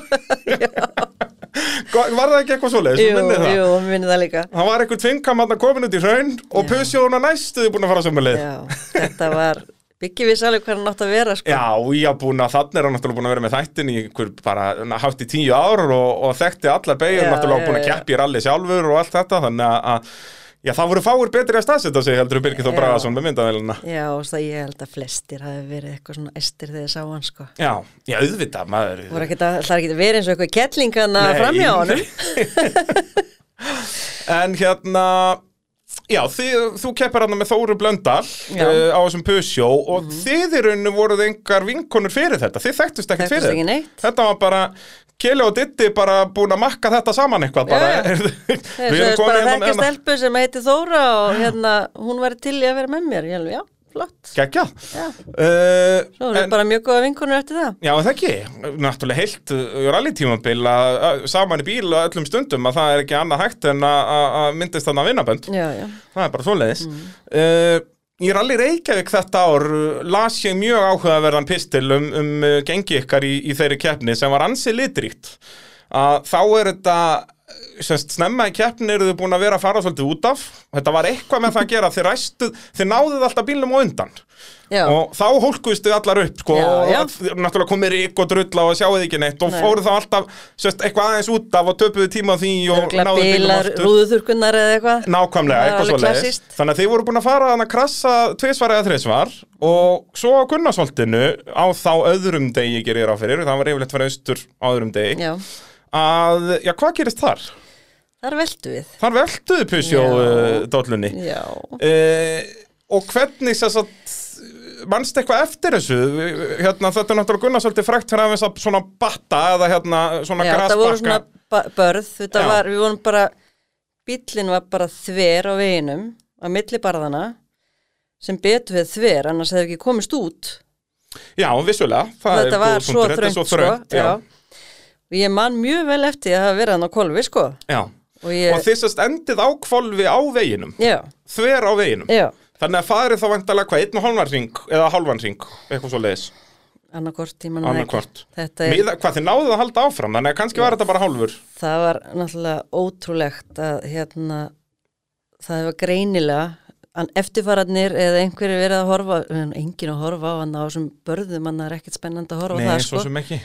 A: Var það ekki eitthvað svoleiðis? Þú
B: Jú,
A: minnir það?
B: jú, minni það líka
A: Það var eitthvað tvingam að komin út í hraun og
B: Já.
A: pusjóna næstuði búin að fara sömu leið.
B: Já, þetta var Byggi viss alveg hvað hann átt að vera sko.
A: Já, ég haf búin að þannig er hann náttúrulega búin að vera með þættin í einhver bara na, hátt í tíu ár og, og þekkti allar beigur,
B: Já,
A: náttúrulega
B: já,
A: búin að
B: já.
A: keppi í ralli sjálfur og allt þetta, þannig að- að já, það voru fáir betri að staðsetja sig heldur Birgir Þór
B: Já.
A: Bragason með myndavélina.
B: Já, og það ég held að flestir hafi verið eitthvað svona estir þegar ég sá hann sko.
A: Já, já, auðvitað, maður.
B: voru ekkert að, það er ekkert að vera eins og eitthvað kettlingana framjá honum
A: En hérna Já, þið, þú keppir hann með Þóru Blöndal
B: Já. Mhm.
A: uh, á þessum Pusjó og þið í rauninu voruð engar vinkonur fyrir þetta þið þekktust ekkert
B: Þekktust
A: fyrir
B: ekki neitt.
A: þetta var bara, Keli og Ditti bara búin að makka þetta saman eitthvað bara,
B: Já, já.
A: Við
B: Við
A: erum
B: erum bara
A: komin
B: að
A: hérna-
B: þekka
A: hérna-
B: stelpu sem heiti Þóra og hérna, hún væri til í að vera með mér ég alveg, já, flott
A: Geggjað
B: Já.
A: uh,
B: Svo erum við bara mjög góða vinkonur eftir það
A: Já, er það ekki, náttúrulega heilt eh, rallytímabil að að- saman í bíl á öllum stundum að það er ekki annað hægt en að- að að myndist þannig að vinnabönd
B: Já, já,
A: það er bara svoleiðis mm. Í Rally Reykjavík þetta ár uh, las ég mjög áhugaverðan pistil um, um uh, gengi ykkar í, í þeirri keppni sem var ansi litríkt að þá er þetta eh, semst, snemma í keppni eru þau búin að vera að fara svolítið út af þetta var eitthvað með það að gera þið, ræstu, þið náðuð alltaf bílum á undan
B: já,
A: og þá hólkuðustu allar upp sko,
B: Já,
A: og
B: já.
A: að- náttúrulega komið rík og drulla og sjáuð ekki neitt og
B: Nei.
A: fóruð þá alltaf semst, eitthvað aðeins út af og töpuðu tíma á því og
B: örgla
A: náðuð bílum
B: bílar,
A: aftur
B: rúðuþurkunnar eða eitthvað
A: Nákvæmlega, eitthvað
B: Það er alveg
A: svo leiðis
B: klassískt.
A: Þannig að þið voru búin að fara að krassa tvisvar eða þrisvar og svo á Gunnarsholtinu á þá öðrum degi gerir ég ráð fyrir það var yfirleitt fyrir austur á öðrum degi
B: Já,
A: að, já, hvað gerist þar?
B: þar veldu við
A: Þar veltuðu pusjó
B: Já.
A: uh, dollunni
B: Já,
A: uh, og hvernig sér satt mannst eitthvað eftir þessu hérna, þetta er náttúrulega Gunnarsholti frækt fyrir aðeins að svona batta eða hérna svona
B: já það voru svona
A: grasbakka
B: ba- börð þetta
A: Já.
B: var, Við vorum bara bíllinn var bara þver á veginum á milli barðana sem betur við þver, annars hefði ekki komist út
A: Já, vissulega, það er
B: þetta
A: góður
B: var svo
A: punktur, þetta er
B: þröngt sko, já. og ég man mjög vel eftir að hafa verið hann á kolvi sko
A: já.
B: og ég,
A: Og þið sérst endið á kvolfi á veginum
B: já,
A: Þver á veginum
B: já,
A: Þannig að farið þá vantalega hvað, einn og hálfan ring Eða hálfan ring, eitthvað svo leiðis
B: annarkort ég man það ekki
A: Annarkvort
B: þetta er,
A: Miða, Hvað þið náðuð að halda áfram Þannig að kannski var þetta bara hálfur
B: það var náttúrulega ótrúlegt að hérna það var greinilega en eftirfararnir eða einhverju verið að horfa en engin að horfa á hann á þessum börðum hann er ekkert spennandi að horfa á það sko
A: svo sem ekki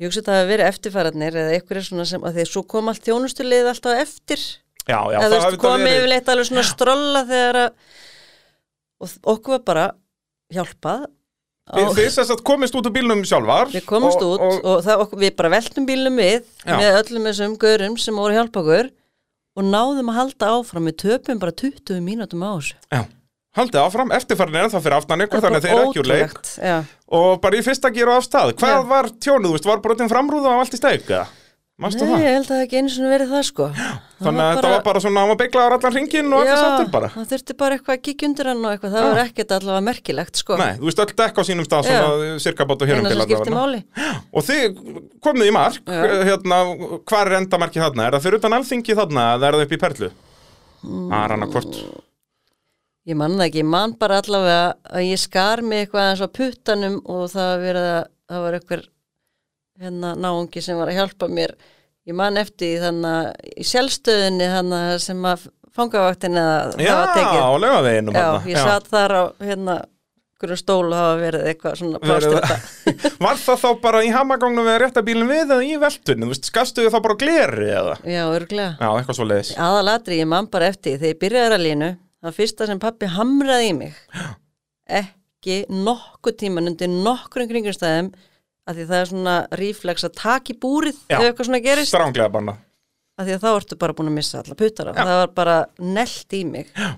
B: ég hugsa að það hafi verið eftirfararnir eða einhverju svona sem að því að svo kom allt þjónustulið alltaf eftir
A: Já, já,
B: eða þú
A: hafi
B: veist, komið yfirleitt alveg svona strolla þegar að og þ- okkur var bara hjálpað
A: Þið,
B: á-
A: þið sérst að komist út úr bílnum sjálfar
B: við komumst út og, það, okkur, við bara veltum bílum við
A: Já.
B: með öllum þessum gaurum sem voru að hjálpa okkur og náðum að halda áfram við töpum bara 20 mínútum á þessu
A: já, Haldið áfram, eftirfærin er það fyrir aftan ykkur Þannig að þið er ekki úr leik
B: ótrúlegt, já.
A: Og bara í fyrsta gera af stað Hvað
B: Já.
A: var tjónuð, þú veist, var brotin framrúða og allt í steik eða? Manstu
B: Nei,
A: það?
B: ég held að það hafi ekki einu svona verið það sko já,
A: Þannig að þetta var bara svona, hann var beiglaður allan hringin og allir sattur bara
B: það þurfti bara eitthvað að kíkja undir hann og eitthvað, það
A: Já.
B: var ekkert allavega merkilegt sko
A: Nei, þú veist öll dekk á sínum stað
B: Já.
A: svona sirkabátt og hérum
B: eina sem skipti máli
A: Og þið komið í mark,
B: Já.
A: hérna, hvar er endamarki þarna? Er það fyrir utan alþingi þarna eða er það upp í perlu?
B: Mm.
A: Ah, Það er hann að hvort.
B: Ég man það ekki, ég man bara allavega að ég skar mig eitthvað aðeins á puttanum og það var verið að það var eitthvað hérna náungi sem var að hjálpa mér ég man eftir því þannig að í sjálfstöðinni þannig að sem að fangavaktin eða
A: Já,
B: það var tekið
A: á laugaveginum
B: Já, ég satt þar á hérna hverju stól og hafa verið eitthvað svona plástur þetta
A: Var það þá bara í hamagangnum við að rétta bílum við eða í veltunni? Þú veist, skastu þau þá bara á gleri eða?
B: Já, örglega
A: Já, eitthvað svo leiðis.
B: Aðalatri, ég man bara eftir því þegar ég byrjaði að línu það fyrsta sem pappi hamraði í mig ekki nokkuð tíman undir nokkrum kringumstæðum að því það er svona ríflex að taka í búrið
A: Já.
B: ef eitthvað svona gerist
A: Stránglega banna.
B: að því að þá ertu bara búin að missa alla puttara
A: Já.
B: það var bara nelt í mig Já.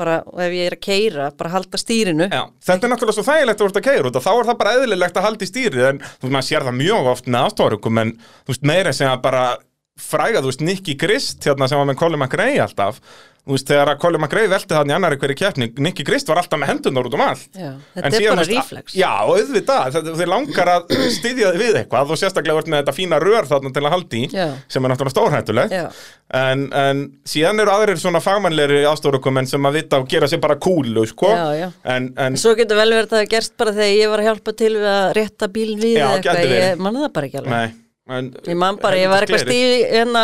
B: bara og ef ég er að keira bara halda stýrinu
A: Já, þetta er náttúrulega svo þægilegt að voru að keira út og þá er það bara eðlilegt að halda í stýrið en þú veist, maður sér það mjög oft með aftórukum en þú veist, meira sem að bara fræga, þú veist, Nicky Grist hérna sem var með Colin McRae alltaf þú veist, þegar að Colin McRae velti hann í annari hverju keppni Nicky Grist var alltaf með hendunar út um allt
B: Já,
A: En
B: þetta er
A: síðan,
B: bara
A: þú veist,
B: reflex.
A: Já, auðvitað, þetta- þeir langar að styðja þig við eitthvað og sérstaklega vart með þetta fína rör þarna til að haldi í
B: Já.
A: sem er náttúrulega stórhættulegt
B: Já.
A: en, en síðan eru aðrir svona fagmannleiri ástórukumenn sem að vita og gera sér bara kúlu sko.
B: Já, já.
A: en, en
B: Svo getur vel verið að það hafi gerst bara þegar ég var að hjálpa til við að rétta bílinn við
A: Já,
B: eða
A: gæti
B: eitthvað,
A: verið.
B: ég manna það bara ekki alveg.
A: Nei, en,
B: Ég man bara, ég var eitthvað stíf í hérna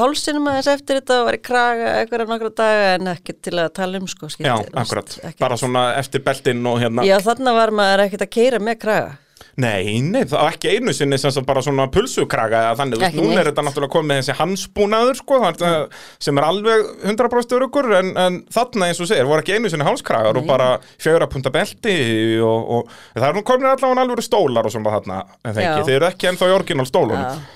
B: hálsinum aðeins eftir þetta og var í kraga eitthvað nokkra daga en ekkert til að tala um sko skipti,
A: Já,
B: þú veist,
A: akkurat,
B: ekkert.
A: bara svona eftir beltinn og hérna
B: Já, þarna var maður ekkert að keira með kraga
A: Nei, nei, það var ekki einu sinni sem sagt bara svona pulsukraga eða þannig, þú veist,
B: Ekki
A: núna er
B: neitt. Mm.
A: þetta náttúrulega komið þessi hansbúnaður, sko, þannig, að- sem er alveg 100% örugur, en, en þarna eins og segir, voru ekki einu sinni hálskragar og bara fjöra punta belti og, og það er nú komin allavega alveg stólar og svona þarna, en það ekki,
B: Já.
A: þeir eru ekki ennþá í orginal
B: Já.
A: stólunum,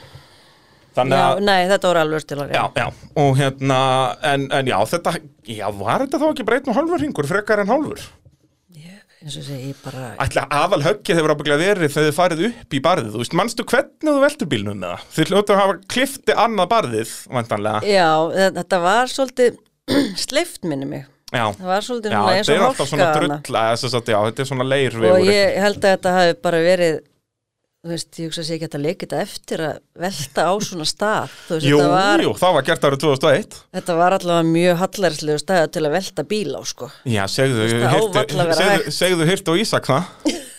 A: þannig
B: Já,
A: að
B: nei, þetta voru alveg stilar
A: Já, já, og hérna, en, en já, þetta, já, var þetta þá ekki breytn og hálfur hringur, frekar en hálfur?
B: eins og segi, ég bara
A: Ætla aðal höggið hefur ábygglega verið þegar þið farið upp í barðið, þú veist, manstu hvernig þú veltur bílnum með það? Þið hljóttu að hafa klifti annað barðið, vantanlega.
B: Já, þe- þetta var svolítið sleift minni mig
A: Já,
B: Það var svolítið
A: já
B: svona eins
A: þetta
B: og
A: er alltaf svona
B: hálka hana.
A: drulla, þess að já, þetta er svona
B: og
A: leirvegur.
B: ég held að þetta hafi bara verið þú veist, ég hugsa að ég geta leikið þetta eftir að velta á svona stað þú veist,
A: Jú,
B: þetta var
A: jú, það var gert árið 2001.
B: Þetta var allavega mjög hallarslegu stæða til að velta bíl á sko.
A: Já, segðu,
B: það á varla að
A: hirtu,
B: vera
A: segðu, segðu hirtu og Ísak það,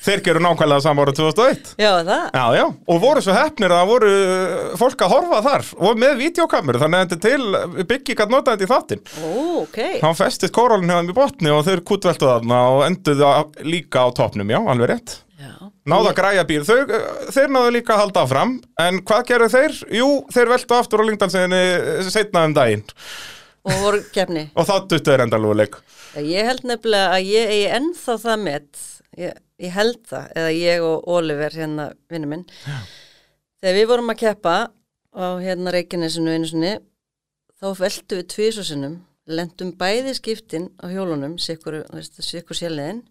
A: þeir gerur nákvæmlega saman árið 2001.
B: Já, það?
A: Já, já, og voru svo hefnir að það voru uh, fólk að horfa þar og með videokameru, þannig að þetta er til eh, byggið gætt notaðið í þáttinn.
B: Ó, ok.
A: Hann festist kóralinn hefðum í botni og þeir kútveltu þarna og enduðu á- líka á topnum, já, alveg rétt.
B: Já.
A: Náðu að græja bíl, þau, eh, þeir náðu líka að halda áfram, en hvað gerðu þeir? Jú, þeir veltu aftur á Lingdalsinni setna um daginn
B: Og voru kefni.
A: og þá duttu þeir endalúleik.
B: Já, Ég held nefnilega að ég eigi ennþá það mitt, ég, ég held það, eða ég og Oliver hérna vinnu minn. Já. Þegar við vorum að keppa á hérna Reykjanesinu einu sinni, þá veltu við tvísusinnum, lendum bæði skiptin á hjólunum, sikkur, veist, sikkur sjæliðin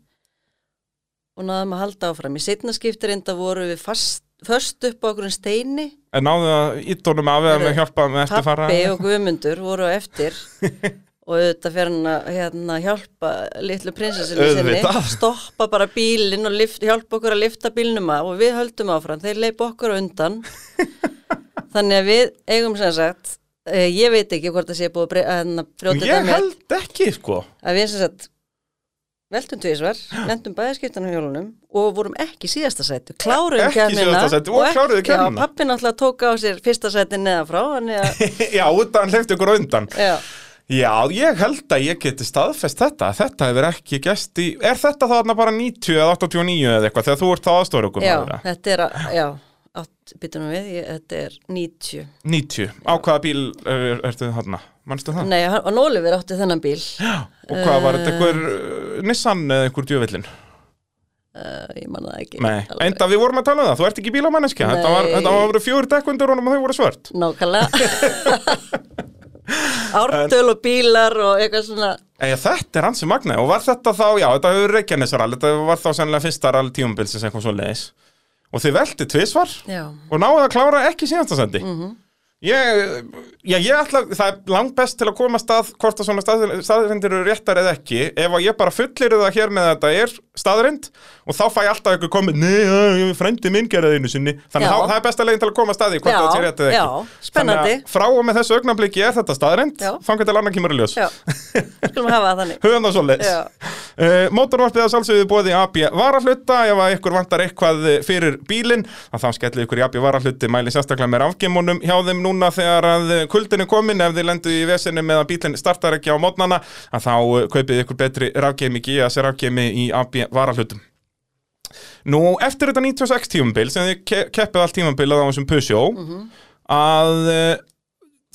B: og náðum að halda áfram. Í setna skiptir enda voru við fast, föst upp á okkur steini
A: En náðu að ítónum af eða
B: Heyrðu,
A: með hjálpa með eftirfara.
B: Pappi og Guðmundur voru á eftir og auðvitað fyrir hann að hérna, hjálpa litlu prinsessinu sinni
A: Auðvitað.
B: stoppa bara bílinn og lift, hjálpa okkur að lifta bílnum að og við höldum áfram, þeir leipa okkur á undan þannig að við eigum sem sagt, eh, ég veit ekki hvort það sé búið að bre- að hérna, brjóta þetta
A: Ég
B: met,
A: held ekki, sko.
B: að við sem sagt veltum tvísvar, lendum bæðaskiptan á hjólunum og vorum ekki í síðasta sæti kláruðum
A: Ekki í síðasta sæti og kláruðu keppnina.
B: Já, pappi náttúrulega tók á sér fyrsta sæti neðan frá, þannig að
A: já, utan hleyfti ykkur á undan.
B: Já,
A: Já, ég held að ég geti staðfest þetta. Þetta hefur ekki gæst í... Er þetta þarna bara 90 eða 89 eða eitthvað þegar þú ert þá aðstórugum?
B: já þetta er, að- já, átt, býtum við, ég, þetta er 90.
A: 90, á hvaða bíl er, ertu þarna? Manstu það?
B: Nei, hann hann Oliver átti þennan bíl,
A: Og hvað var
B: Eh.
A: þetta, einhver uh, Nissan eða einhver djöfellin?
B: uh, ég manna það ekki.
A: Nei,
B: alveg.
A: enda við vorum að tala um það, þú ert ekki bílamanneskja Þetta var,
B: Nei.
A: þetta var fjóri dekkundur honum og þau voru svört
B: Nákvæmlega. Ártöl og bílar og eitthvað svona,
A: Eða þetta er hansi magna og var þetta þá, já, þetta hefur Reykjanesarall Þetta var þá sennilega fyrsta rall tíumbilsins eitthvað svo leiðis Og þið velti tvisvar
B: já, Mhm.
A: og náðu að klára ekki síðastasendi mm -hmm. Ég, já, ég ætla, það er langt best til að koma stað hvort að svona stað, staðrindir eru réttar eða ekki ef að ég bara fullir það hér með að þetta er staðrind og þá fæ ég alltaf ykkur komið, nei, já, frendi minn gerði einu sinni þannig
B: Já.
A: að þá- það er besta leiðin til að koma að staði hvort
B: Já,
A: að þetta er rétt eða ekki
B: já, spennandi.
A: Þannig að frá og með þessu augnabliki er þetta staðrind
B: Já.
A: þangar til annar kemur í ljós
B: já, skulum hafa það þannig.
A: höfum það svoleiðis
B: Já.
A: uh, Mótorvarpið að sálsögðu bóði AB varahluta ef að ykkur vantar eitthvað eh, fyrir bílinn að þá skellir ykkur í AB varahluti mæli sérstaklega með rafgemunum hjá þeim núna þegar að kuldin er komin ef þið lendu í vesinu með að bílinn startar ekki á mótnana að þá eh, kaupið ykkur betri rafgemi GS rafgemi í AB varahlutum Nú, eftir þetta 96 tímabil sem þið ke keppið allt tímabilið á þessum Peugeot
B: Mhm.
A: að eh,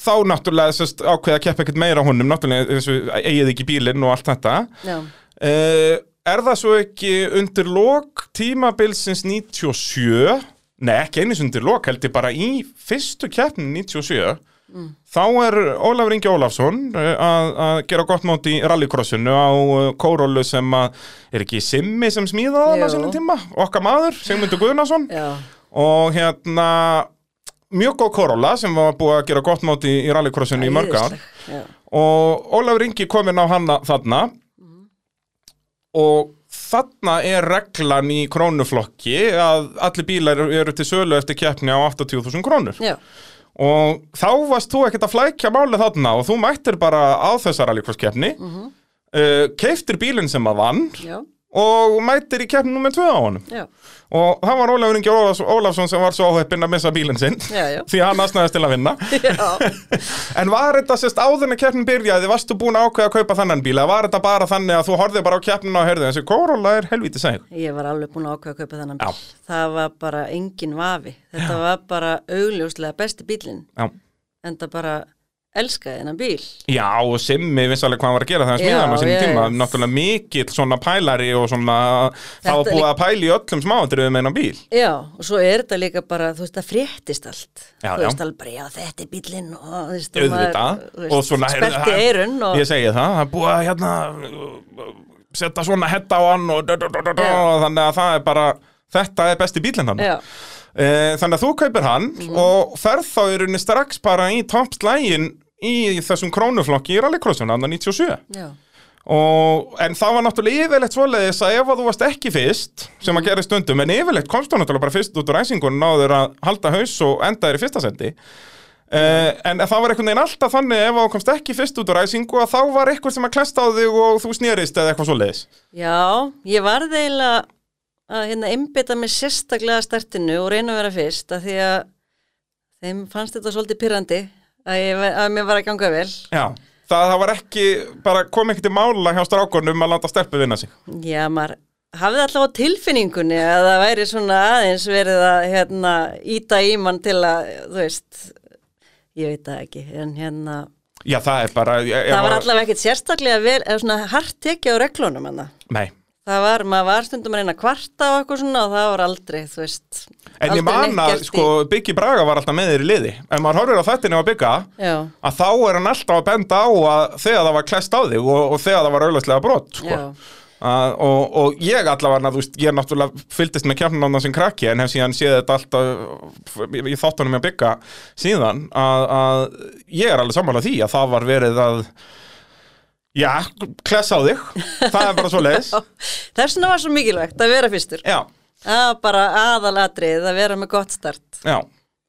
A: þá náttúrulega sest, ákveða að keppa ekkert meira á honum náttúrulega eins og eigið ekki bílinn og allt þetta
B: Já,
A: uh, er það svo ekki undir lok tímabilsins 97 nei ekki einu sinni undir lok heldur bara í fyrstu keppnin 97 þá er Ólafur Ingi Ólafsson eh, að að gera gott mót í rallycrossinu á eh, Kórólu sem að er ekki Simmi sem smíðaði hann á
B: Jú.
A: sínum tíma okkar maður, Sigmundur Guðnason
B: já,
A: og hérna mjög góð Corolla sem var búið að gera gott móti í rallycrossinu í mörg ár
B: Já,
A: og Ólafur Ingi kominn á hana þarna og þarna er reglan í krónuflokki að allir bílar eru til sölu eftir keppni á 80.000 krónur
B: já,
A: og þá varst þú ekkert að flækja málið þarna og þú mættir bara á þessar alíkvarskeppni mm -hmm. keiftir bílinn sem að vann
B: já,
A: og mættir í keppni nummer 2 á honum
B: já,
A: og það var Ólafur Ingi Ólafs- Ólafsson sem var svo áheppinn að missa bílinn sinn
B: já, já.
A: því hann aðsnaðist til að vinna
B: já.
A: En var þetta sérst áðurinn að keppnin byrjaði, varstu búin að ákveða að kaupa þannan bíl eða var þetta bara þannig að þú horfið bara á keppnin og heyrðu þessi Corolla er helvíti sæl
B: Ég var alveg búin að ákveða að kaupa þennan
A: Já.
B: bíl. Það var bara engin vafi. Þetta var bara augljóslega besti bílinn.
A: Já,
B: En það bara elskaði þennan bíl.
A: Já og Simmi visst alveg hvað hann var að gera þegar
B: Já,
A: smíðan á sinni
B: ég-
A: tíma náttúrulega mikill svona pælari og svona það var
B: Þetta
A: búið að pæla í öllum smáandriðum en á bíl
B: Já, og svo er þetta líka bara, þú veist, það fréttist allt.
A: Já,
B: þú
A: já.
B: veist alveg bara, já, þetta er bílinn og, þú veist, og
A: auðvitað
B: maður, þú veist,
A: og svona heyrðu,
B: sperrti
A: það-
B: eyrun og,
A: ég segi það, það er búið að hérna setja svona hetta á hann og, og þannig að það er bara þetta er besti bílinn hann
B: já, Mhm.
A: Eh, Þannig að þú kaupir hann og ferð þá í rauninni strax bara í toppslægin í þessum krónuflokki í rallycrossinu, andan 97
B: já,
A: og, en það var náttúrulega yfirleitt svoleiðis að ef að þú varst ekki fyrst sem
B: Mhm.
A: að gera stundum, en yfirleitt komst þú náttúrulega bara fyrst út úr æsingun náður að halda haus og enda þér í fyrsta sendi uh,
B: Mhm.
A: en það var einhvern veginn alltaf þannig ef að þú komst ekki fyrst út úr æsingu að þá var eitthvað sem að klesta á þig og þú snerist eða eitthvað svoleiðis
B: já, ég varð eiginlega að hérna einbytta mig sérstaklega að startinu og reyna að vera fyrst, af því að þeim fannst þetta svolítið pyrrandi að, ég, var- að mér var að ganga vel.
A: Já, það, það var ekki bara kom ekki til mála hjá strákunum að landa stelpu vinna sig
B: Já, maður hafði alltaf á tilfinningunni að það væri svona aðeins verið að hérna, íta í mann til að, þú veist, ég veit það ekki, en hérna,
A: Já, það er bara ég,
B: það var allavega ekkit sérstaklega vel, eða svona hart tekið á reglunum hann
A: Nei,
B: Það var, maður var stundum að reyna að kvarta og eitthvað svona og það var aldrei, þú veist,
A: en ég
B: aldrei neitt
A: man að
B: gert í-
A: sko, Biggi Braga var alltaf með þér í liði En maður horfir á þættinu á Bigga
B: Já,
A: að þá er hann alltaf að benda á að þegar það var klest á þig og, og þegar það var auðvæslega brot sko.
B: Já.
A: að, og, og ég allavega, þú veist, ég náttúrulega fylgdist með kjarnanóna sem krakki en hef síðan séð þetta alltaf ég, ég þátt honum að bygga síðan að, að ég er alveg sammála því að það var verið að já, klessa á þig það er bara svo leiðis
B: þess vegna var svo mikilvægt að vera fyrstur,
A: já,
B: að bara aðalatrið, að vera með gott start
A: já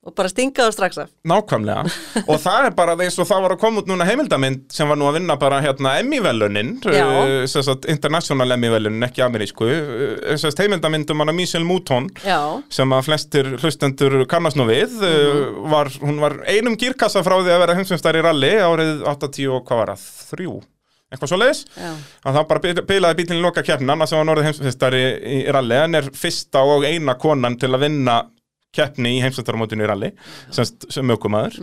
B: og bara stinga þá strax af.
A: Nákvæmlega, og það er bara eins og það var að koma út núna heimildamind sem var nú að vinna bara hérna Emmy-velunin
B: Já.
A: eh, sem sagt international Emmy-velunin, ekki amerísku eh, sem sagt heimildamind um hana Michelle Mouton
B: Já, Mhm.
A: sem að flestir hlustendur kannast nú við mm var, hún var einum gírkassa frá því að vera heimsumstæri í rally árið 80 og hvað var það, þrjú eitthvað svo leiðis,
B: Já.
A: að það bara bil- bilaði bílinn í loka keppnin, annars sem var norðið heimsumstæri í, í rally, en er fyrsta og eina konan til að vinna keppni í heimsumstæramótinu í rally sem, st- sem mökumæður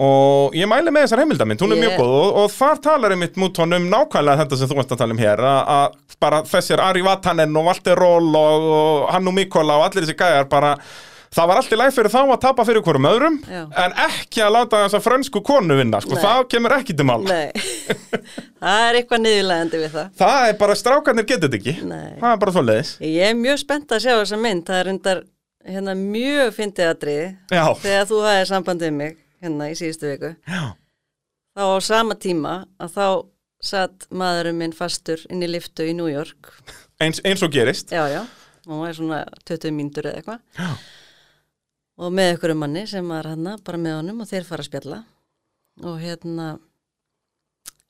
A: og ég mæli með þessar heimildamind, hún er
B: Mhm. Ég-
A: mjög góð og, og þar talar einmitt mút honum nákvæmlega þetta sem þú varst að tala um hér að, að bara þessir Ari Vatanen og Walter Roll og, og Hannu Mikola og allir þessi gæjar bara Það var allt í læg fyrir þá að tapa fyrir hverjum öðrum
B: Já.
A: en ekki að láta þessa frönsku konu vinna sko,
B: Nei.
A: það kemur ekki til mála
B: Nei, það er eitthvað niðurlegandi við það.
A: Það er bara, strákarnir getur þetta ekki
B: Nei.
A: Það er bara svoleiðis
B: Ég er mjög spennt að sjá þessa mynd, það er undar hérna, mjög fyndið atriði
A: Já,
B: þegar þú hafið sambandið mig hérna í síðustu viku.
A: Já.
B: Þá á sama tíma að þá satt maðurinn minn fastur inn í liftu í New York.
A: Eins, eins og gerist
B: Já, já, hún var svona 20 mínútur eða eitthvað.
A: Já.
B: Og með ykkur manni sem var hann bara með honum og þeir fara að spjalla. Og hérna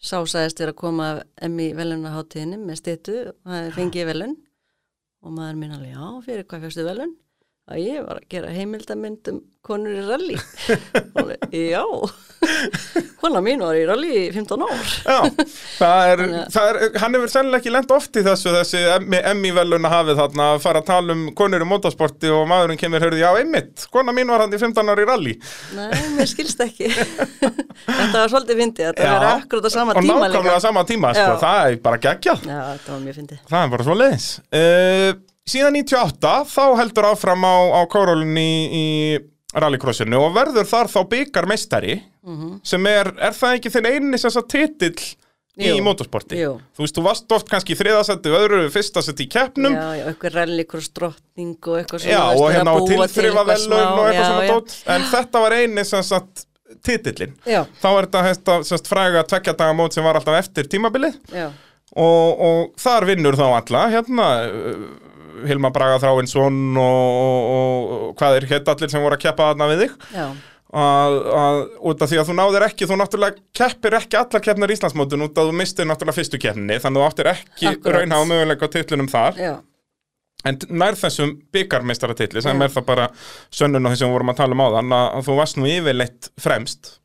B: sá sæðist vera að koma af emmi velunna hátíðinni með stytu og það fengið velun. Og maður minn alveg, já, fyrir hvað fyrstu velun? Að ég var að gera heimildamynd um konur í rally. Og alveg, já, kona mín var í rally í 15 ár.
A: Já, það er,
B: Þannig að-
A: það er, hann hefur sennilega ekki lent oft í þessu þessi emmi veluna hafið þarna að fara að tala um konur í motorsporti og maðurinn kemur hörði, já, einmitt, kona mín var hann í 15 ári í rally
B: Nei, mér skilst ekki. þetta var svolítið fyndið, þetta
A: Já.
B: var akkurat á sama
A: og
B: tíma líka.
A: nákvæmlega sama tíma, sko,
B: Já.
A: það er bara geggjað
B: Já, þetta var mjög fyndið.
A: Það er bara svo leiðis uh, Síðan 98 þá heldur áfram á, á kórólunni í, í rallycrossinu og
B: Mhm.
A: verður þar þá byggar meistari sem er, er það ekki þinn eini sem þess að titill í
B: Jú.
A: motorsporti
B: Jú.
A: Þú veist, þú varst oft kannski í þriðasetti og öðru fyrstasetti í keppnum
B: já, já, eitthvað rallycrossdrottning og eitthvað svona
A: Já,
B: veist,
A: og
B: vera
A: hérna á
B: að búa til
A: tilþrifa
B: eitthvað
A: velun
B: smá,
A: og eitthvað
B: já,
A: svona
B: já.
A: dót En þetta var eini sem sagt titillin
B: Já.
A: Þá er þetta þetta semst fræga tveggja daga mót sem var alltaf eftir tímabilið
B: Já,
A: og, og þar vinnur þá alla hérna uh, Hilma Braga Þráinsson og, og, og hvað er hétt allir sem voru að keppa þarna við þig
B: já,
A: að, að, út af því að þú náðir ekki þú náttúrulega keppir ekki allar keppnar í Íslandsmótun út að þú mistir náttúrulega fyrstu keppninni þannig að þú áttir ekki
B: Akkurat.
A: raunhafa möguleika á titlunum þar
B: já,
A: en t- nær þessum byggarmeistaratitli sem
B: Já.
A: er það bara sönnun á því sem við vorum að tala um áðan að, að þú varst nú yfirleitt fremst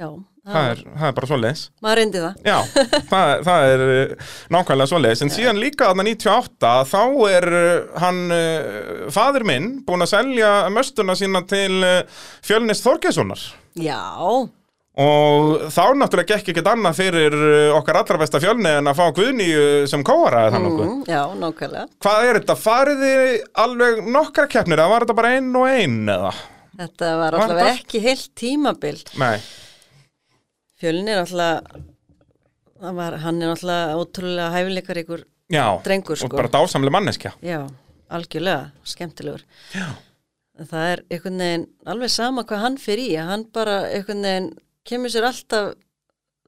B: já.
A: það er, það er bara svoleiðis
B: Maður reyndi það.
A: Já, það, er- það er uh, nákvæmlega svoleiðis en síðan líka þarna 98 þá er uh, hann uh, fadir minn búin að selja möstuna sína til uh, Fjölnis Þorgessonar
B: Já,
A: og þá náttúrulega gekk ekkert annað fyrir uh, okkar allra besta fjölni en að fá Guðnýju sem kóara eða þannig mm.
B: mm, já, nákvæmlega.
A: Hvað er þetta? Farið þið alveg nokkra keppnir eða var þetta bara ein og ein eða?
B: Þetta var
A: Var
B: allavega
A: þetta-
B: ekki heilt tímabil.
A: Nei,
B: Fjölnir alltaf, var, hann er alltaf ótrúlega hæfileikar ykkur.
A: já
B: Drengur, sko.
A: og bara dásamlega manneskja
B: Já, algjörlega, skemmtilegur. Já. Það er einhvern veginn alveg sama hvað hann fyrir í. Hann bara einhvern veginn kemur sér alltaf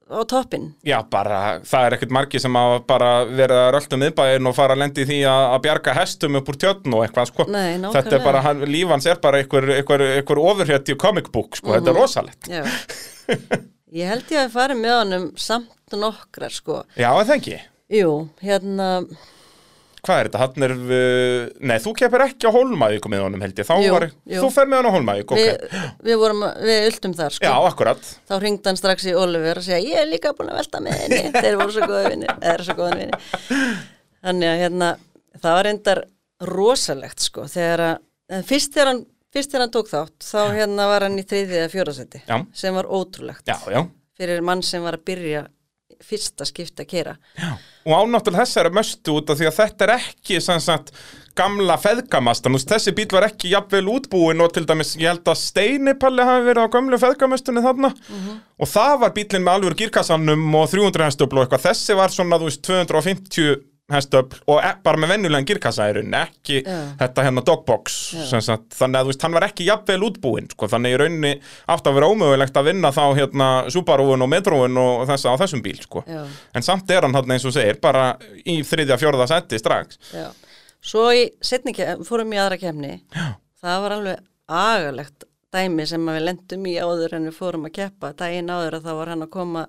B: á toppin.
A: Já, bara, það er ekkert margi sem að bara verið að rölda miðbæinn og fara að lendi því að, að bjarga hestum upp úr tjötn og eitthvað, sko.
B: Nei, nákvæmlega.
A: Þetta er bara, hann, líf hans er bara einhver, einhver, einhver ofurhjötti comic book, sko,
B: Mhm.
A: þetta er rosalegt.
B: Já. Ég held ég að fara með honum samt nokkrar, sko.
A: Já, en það ekki.
B: Jú, hérna...
A: Hvað er þetta? Hann er, uh, nei, þú keppir ekki á Hólmavíku með honum, held ég. Þá
B: Jú,
A: var,
B: jú.
A: þú fer með hann á Hólmavíku, ok.
B: við, við vorum, að- við ultum þar sko
A: Já, akkurat.
B: þá hringdi hann strax í Oliver og segja ég er líka búin að velta með henni þeir voru svo góði vinni, þeir eru svo góði vinni þannig að hérna það var reyndar rosalegt sko þegar að, en fyrst þegar hann fyrst þegar hann tók þátt þá hérna var hann í þriðið eða fjórasetti
A: Já.
B: sem var ótrúlegt
A: Já, já.
B: fyrir mann sem var að byrja fyrsta skipta að kera
A: já. Og ánáttúrulega þessari möstu út af því að þetta er ekki, sem sagt, gamla feðgamastan, Þú veist, þessi bíl var ekki jafnvel útbúin og til dæmis, ég held að Steinipalli hafi verið á gömlu feðgamastunni þarna og það var bílinn með alveg girkassanum og 300 hestöfl og eitthvað, þessi var svona, þú veist, 250 hestöfl og e- bara með venjulegan girkassa í rauninni, ekki
B: Já.
A: þetta hérna dogbox, sem sagt, þannig að þú veist, hann var ekki jafnvel útbúin, sko, þannig í rauninni átt að vera ómögulegt að vinna þá hérna Subaruun og Metroun og þessa á þessum bíl, sko.
B: Já.
A: En samt er hann þarna eins og þú segir, bara í þriðja, fjórða seti strax.
B: Já. Svo í setni kefni, fórum í aðra kefni Já. það var alveg agalegt dæmi sem að við lendum í áður en við fórum að keppa daginn áður að þá var hann að koma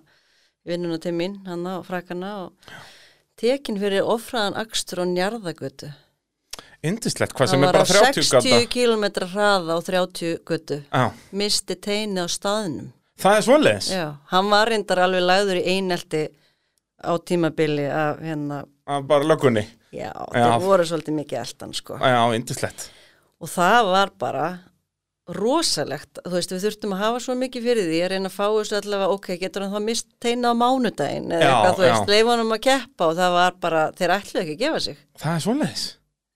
B: í vinnuna til mín, hann á frakana og tekin fyrir ofraðan akstur og njarðagötu
A: Indislegt, hvað sem
B: hann
A: er
B: var
A: bara
B: á
A: 30
B: 60
A: gata
B: km hraða á 30 götu
A: Já,
B: misti teini á staðnum
A: það er svoleiðis
B: Já, hann var reyndar alveg lagður í einelti á tímabili af hérna
A: Að bara löggunni,
B: Já, já.
A: Já.
B: það voru svolítið mikið eldan sko
A: já, indislegt
B: og það var bara rosalegt, þú veist við þurftum að hafa svo mikið fyrir því að reyna að fá þessu allavega ok, getur hann þá mist teina á mánudaginn eða
A: Já,
B: eitthvað, þú
A: já.
B: veist, leif honum að keppa og það var bara, þeir ætluðu ekki að gefa sig
A: Það er svoleiðis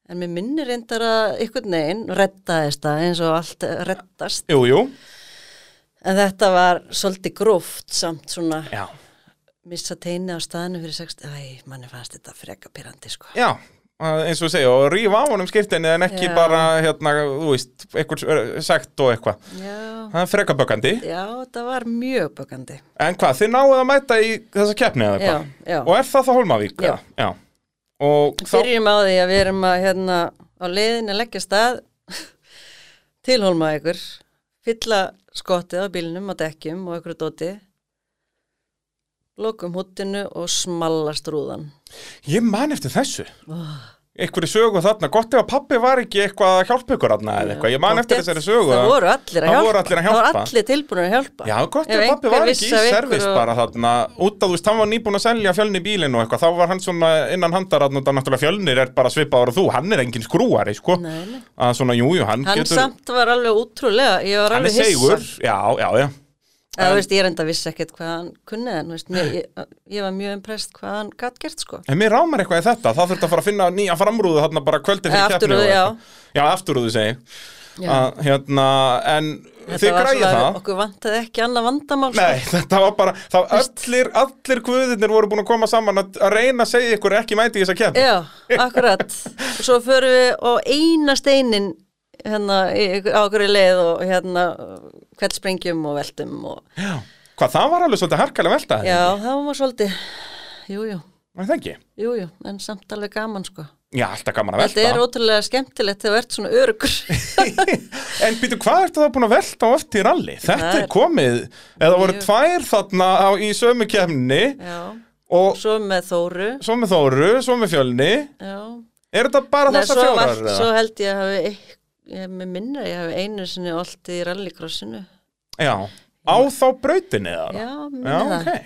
B: en mér minnir reyndar að ykkur neginn rettaðist það eins og allt rettast
A: Jú, jú,
B: en þetta var svolítið gróft samt svona
A: já,
B: missa teina á staðinu fyrir 60 æ, manni fannst þetta freka pyrrandi sko
A: já að eins og segja, og rífa á honum skirtinni en ekki
B: Já.
A: bara, hérna, þú veist einhver ö, sekt og eitthvað
B: já,
A: Það er frekabökkandi,
B: já þetta var mjög bökandi
A: en hvað, þið náuð að mæta í þessa keppni eða
B: já,
A: eitthvað
B: já
A: Og er það þá Hólmavík?
B: Já.
A: já. Og þá,
B: Byrjum á því að við erum að hérna á leiðin að leggja stað tilhólma ykkur fylla skottið á bílnum á dekkjum og ykkur dóti lokum húttinu og smallast rúðan
A: ég man eftir þessu Einhverju sögu þarna, gott ef að pappi var ekki eitthvað að hjálpa ykkur þarna eða eitthvað Ég man eftir þessari sögu
B: Það
A: að-
B: voru allir að
A: Það
B: hjálpa
A: voru allir að
B: Það
A: hjálpa.
B: voru allir tilbúin að hjálpa
A: Já, gott
B: Ef
A: að pappi
B: einhver
A: var
B: vissi
A: ekki
B: af
A: í
B: ykkur
A: servis
B: og-
A: bara þarna út að þú veist, hann var nýbúin að selja fjölni bílinn og eitthvað, þá var hann svona innan handar og það náttúrulega fjölnir er bara svipaður og þú hann er engin skrúari, sko
B: Nei, nei.
A: að svona, jú, jú, hann,
B: Hann
A: getur
B: samt var alveg útrúlega Ég var
A: hann er
B: alveg hissa
A: segur, já, já, já
B: Eða, þú veist, Ég er enda vissi ekkert hvað hann kunni en, þú veist, mér, ég, ég var mjög imprest hvað hann gatt gert sko
A: En mér rámar eitthvað í þetta, þá þurfti að fara að finna nýja framrúðu þarna bara kvöldi fyrir keppni
B: Afturrúðu,
A: og
B: já.
A: eitthvað. Já, afturrúðu segi
B: Já.
A: að, hérna, en þið græði það.
B: okkur vantaði ekki annað vandamál sko.
A: Nei, þetta var bara, þá allir, allir guðirnir voru búin að koma saman að, að reyna að segja ykkur ekki mæti í þess að kemna.
B: Já, akkurat og svo förum við á eina steinin hérna í- á okkur í leið og hérna hvert sprengjum og veltum og
A: Já. Hvað, það var alveg svolítið harkalega velta það?
B: já, það var svolítið jújú, jú,
A: Það ekki?
B: jújú, jú, en samt alveg gaman sko.
A: Já, alltaf gaman að velta.
B: Þetta er ótrúlega skemmtilegt þegar þú ert svona örugur
A: En býtu, hvað ertu það búin að velta á oft í ralli? Þetta
B: Það
A: er
B: er-
A: komið, eða voru
B: Mjög.
A: tvær þarna á, í sömu kemni
B: Já,
A: og
B: svo með Þóru
A: svo með Þóru, svo með Fjölni.
B: Já,
A: Er þetta bara
B: Nei,
A: þessar
B: svo,
A: fjórar?
B: var,
A: eða?
B: svo held ég að hafi eit- ég með minna, ég hafi einu sinni oltið í rallycrossinu
A: Já, á þá brautinni eða?
B: Já, minna
A: Já,
B: það
A: ok.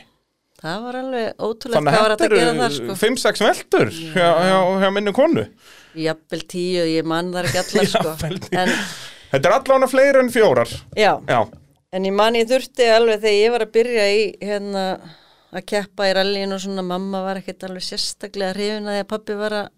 B: Það var alveg ótrúlegt
A: Þannig
B: hvað var
A: að
B: hægt að gera
A: þetta
B: þar sko.
A: eru 5-6 veltur hjá, hjá, hjá minni konu.
B: Jafnvel tíu, ég man þar ekki allar
A: Jafnvel
B: sko.
A: tíu.
B: En,
A: Þetta er allavega fleiri en fjórar.
B: já,
A: Já,
B: en ég man ég þurfti alveg þegar ég var að byrja í hérna að keppa í rallinu og svona mamma var ekkert alveg sérstaklega hrifin að því að pappi var að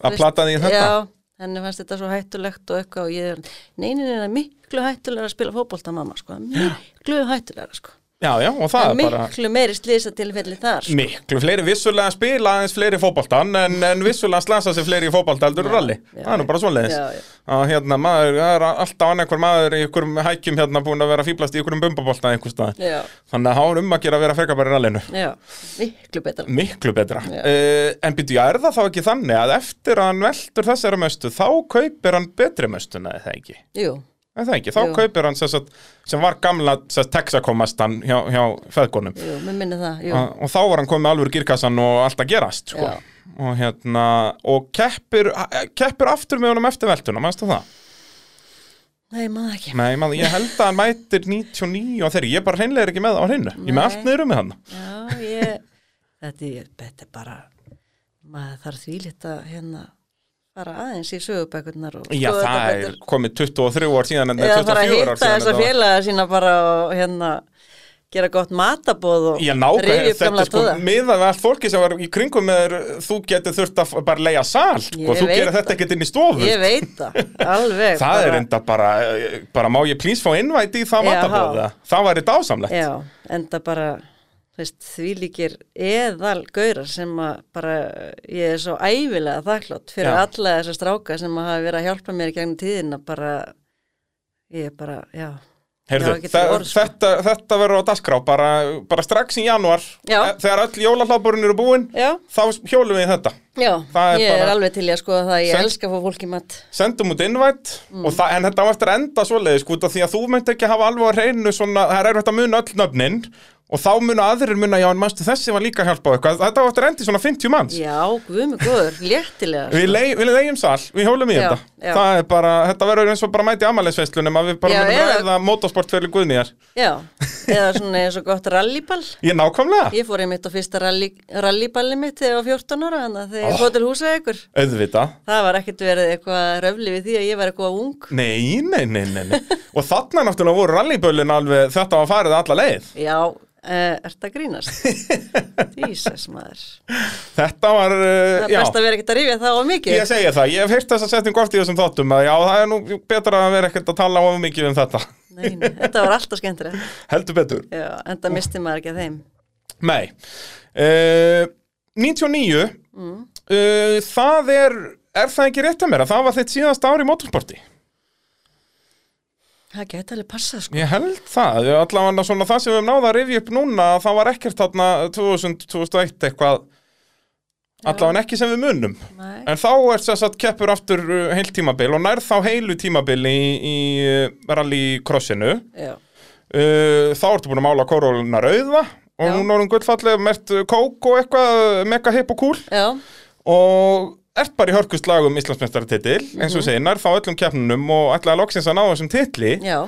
A: að plata því þetta.
B: Já, henni fannst þetta svo hættulegt og eitthvað og ég er, neinin er það miklu hættulega að spila fótbolta mamma sko, miklu hættulega sko
A: Já, já, og það er
B: miklu
A: bara
B: meiri slýsa þar sko.
A: miklu fleiri, vissulega spila aðeins fleiri í fótboltan en, en vissulega slasa sig fleiri í fótbolta heldur en rally.
B: já,
A: Það er nú bara svoleiðis.
B: já, já.
A: Að hérna, maður, það er alltaf annað hver maður í ykkurum hækjum hérna búin að vera fýblast í ykkurum bumbabolta einhvers staðar.
B: Já,
A: Þannig að það er um að gera að vera frekar bara í rallinu.
B: já, miklu betra
A: Miklu betra.
B: Já.
A: Uh, en býtu, já, er það þá ekki þannig að eftir að hann veldur þessari möstu, þá kaupir hann betri möstuna, eða ekki?
B: Jú,
A: Er það ekki? Þá
B: Jú.
A: kaupir hann sem, sagt, sem var gamla sem sagt, Texacomastan hjá, hjá feðkonum.
B: jú, mér minni það jú.
A: Og þá var hann komið með alvöru girkassan og allt að gerast, sko.
B: Já.
A: Og hérna, og keppir, keppir aftur með honum eftir veltuna, mannstu það?
B: Nei, maður ekki
A: Nei, maður, ég held að hann mætir 99 og þeirri, ég bara hreinlega er ekki með það á hreinu. Ég er með
B: Nei.
A: allt niður um með hann.
B: Já, ég, þetta, er- þetta er bara, maður þarf þvílitt að hérna fara aðeins í sögubækurnar og
A: Já,
B: skoða
A: það
B: þetta
A: er
B: betur.
A: komið 23 ár síðan, en
B: Eða
A: 24
B: fara að
A: ár síðan.
B: hitta þessa
A: þetta var.
B: félaga sína bara og hérna gera gott matabóð og
A: Já, nákvæmlega,
B: rifja upp
A: þetta
B: gamla
A: er sko
B: tóða.
A: miðað við allt fólki sem var í kringum með þér, þú getur þurft að f- bara leia sal, sko,
B: Ég
A: þú
B: veit
A: gerir þetta
B: það.
A: ekkert inn í stofu,
B: Ég veit það, alveg.
A: það er
B: bara-
A: enda bara, bara má ég plís fá innvæti í það
B: Já,
A: matabóða, það væri dásamlegt.
B: Já, enda bara þú veist, þvílíkir eðal gaurar sem að bara ég er svo æfilega þakklátt fyrir
A: Já.
B: alla þessa stráka sem að hafa verið að hjálpa mér í gegnum tíðina bara ég er bara, já
A: Heyrðu,
B: Já, ekki til
A: þe-
B: orð, sko.
A: þetta, þetta verður á dagskrá bara, bara strax í janúar,
B: Já.
A: Eh, þegar öll jólahláburinn eru búin,
B: Já,
A: þá hjólum við í þetta.
B: já,
A: Það er
B: ég er
A: bara-
B: alveg til ég að skoða það ég
A: Sem-
B: elska að fá fólki mat
A: Sendum út innvætt,
B: Mm.
A: og það, en þetta var eftir að enda svoleiðis, sko, út af því að þú myndi ekki hafa alveg að reynu svona, það er eftir að muna öll nöfnin, og þá muna aðrir muna, já, en manstu þessi var líka að hjálpa á eitthvað, þetta var eftir að enda í svona 50 manns.
B: Já, guðmi góður, léttilega
A: Við, leig, við leigjum sal, við hjólum í
B: Já,
A: þetta
B: já.
A: Það er bara, þetta verður eins og bara mæti ammælisveislunum að við bara
B: Já,
A: munum
B: eða-
A: ræða motorsportfjölu guðnýjar
B: Já, eða svona eins og gott rallyball
A: Ég nákvæmlega,
B: Ég fór einmitt á fyrsta rally, rallyballi mitt þegar ég var 14 ára þannig að þegar ég fór til húsveikur
A: auðvita
B: Það var ekkert verið eitthvað röfli við því að ég var eitthvað ung
A: Nei, nei, nei, nei, nei. Og þarna náttúrulega voru rallybölin alveg þetta var farið alla leið
B: Já, uh, ert að grínast Ísas maður
A: Þetta var,
B: Það
A: uh,
B: er
A: já
B: best að vera ekkert að rifja það á mikið
A: Ég segi það, ég hef heyrt þess að setjum gort í þessum þáttum að já, það er nú betra að vera ekkert að tala of mikið um þetta
B: nei, nei, Þetta var alltaf skemmtilegt
A: Heldur betur
B: Já, en það misti maður ekki að þeim
A: Nei uh, 99 uh, Það er, er það ekki rétt að mér að það var þitt síðast ár í motorsporti
B: Það gæti alveg passað sko
A: Ég held það, allavega svona það sem við höfum náða að rifja upp núna það var ekkert þarna 2000, 2001 eitthvað allavega ekki sem við munum
B: Nei,
A: en þá er þess að keppur aftur uh, heilt tímabil og nær þá heilu tímabil í, í uh, rallycrossinu
B: já,
A: uh, þá ertu búin að mála koróluna rauða og
B: Já.
A: núna er hún gullfallega mert uh, kók og eitthvað uh, mega hip og cool
B: já,
A: og ert bara í hörkustlag um Íslandsmeistaratitil eins og segir, nær þá öllum keppnunum og ætlaði að loksins að ná þessum titli
B: Mhm. já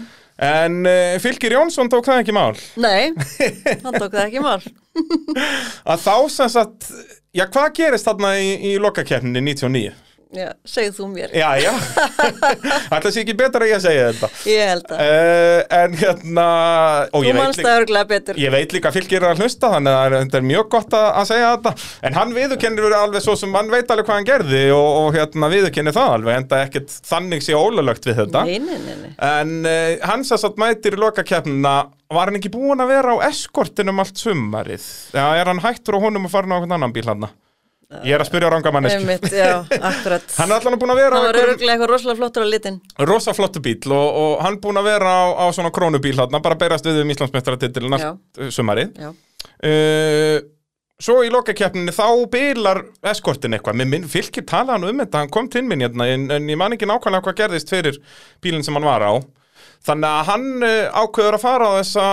A: en uh, Fylgir Jónsson tók það ekki mál
B: Nei, hann tók það ekki mál
A: að þá sem sagt, já hvað gerist þarna í, í lokakeppninni 99?
B: já, segð þú mér.
A: Já, já, ætla sé ekki betra að ég segja þetta
B: Ég held að.
A: uh, En hérna ó,
B: Þú
A: ég, veit
B: manst
A: líka,
B: það örglega betur.
A: ég veit líka að fylgir er að hlusta Þannig að þetta er mjög gott að, að segja þetta En hann viðurkennir alveg svo sem hann veit alveg hvað hann gerði Og, og hérna viðurkennir það alveg En það ekkert þannig sé ólulögt við þetta
B: Nei, nei, nei, nei.
A: En uh, hann sem satt mætir í lokakeppnina Var hann ekki búin að vera á eskortinum allt sumarið? Já, er hann hættur á honum að fara á einhvern annan bíl hann? Ég er að spyrja rangamanneski
B: Einmitt, já, akkurat.
A: Hann er allan að búin að vera á
B: Hann var
A: einhverjum-
B: örglega eitthvað rosalega flottur á litin.
A: rosa flottu bíl og, og hann búinn að vera á, á svona krónubíl hann bara berast við um Íslandsmeistaratitil næst sumarið
B: Já,
A: uh, svo í lokakeppninni þá bilar eskortin eitthvað Mér minn, fylgir talaði hann um þetta, hann kom til minn hérna, en, en ég man ekki nákvæmlega hvað gerðist fyrir bílinn sem hann var á Þannig að hann eh, ákveður að fara á þessa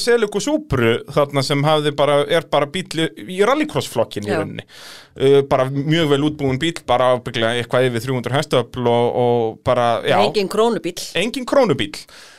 A: Seliku Súbru þarna sem hafði bara, er bara bíl í rallycrossflokkin í
B: Já.
A: rauninni uh, bara mjög vel útbúin bíl bara ábygglega eitthvað yfir 300 hestöfl og, og bara, já
B: engin krónubíl.
A: engin krónubíl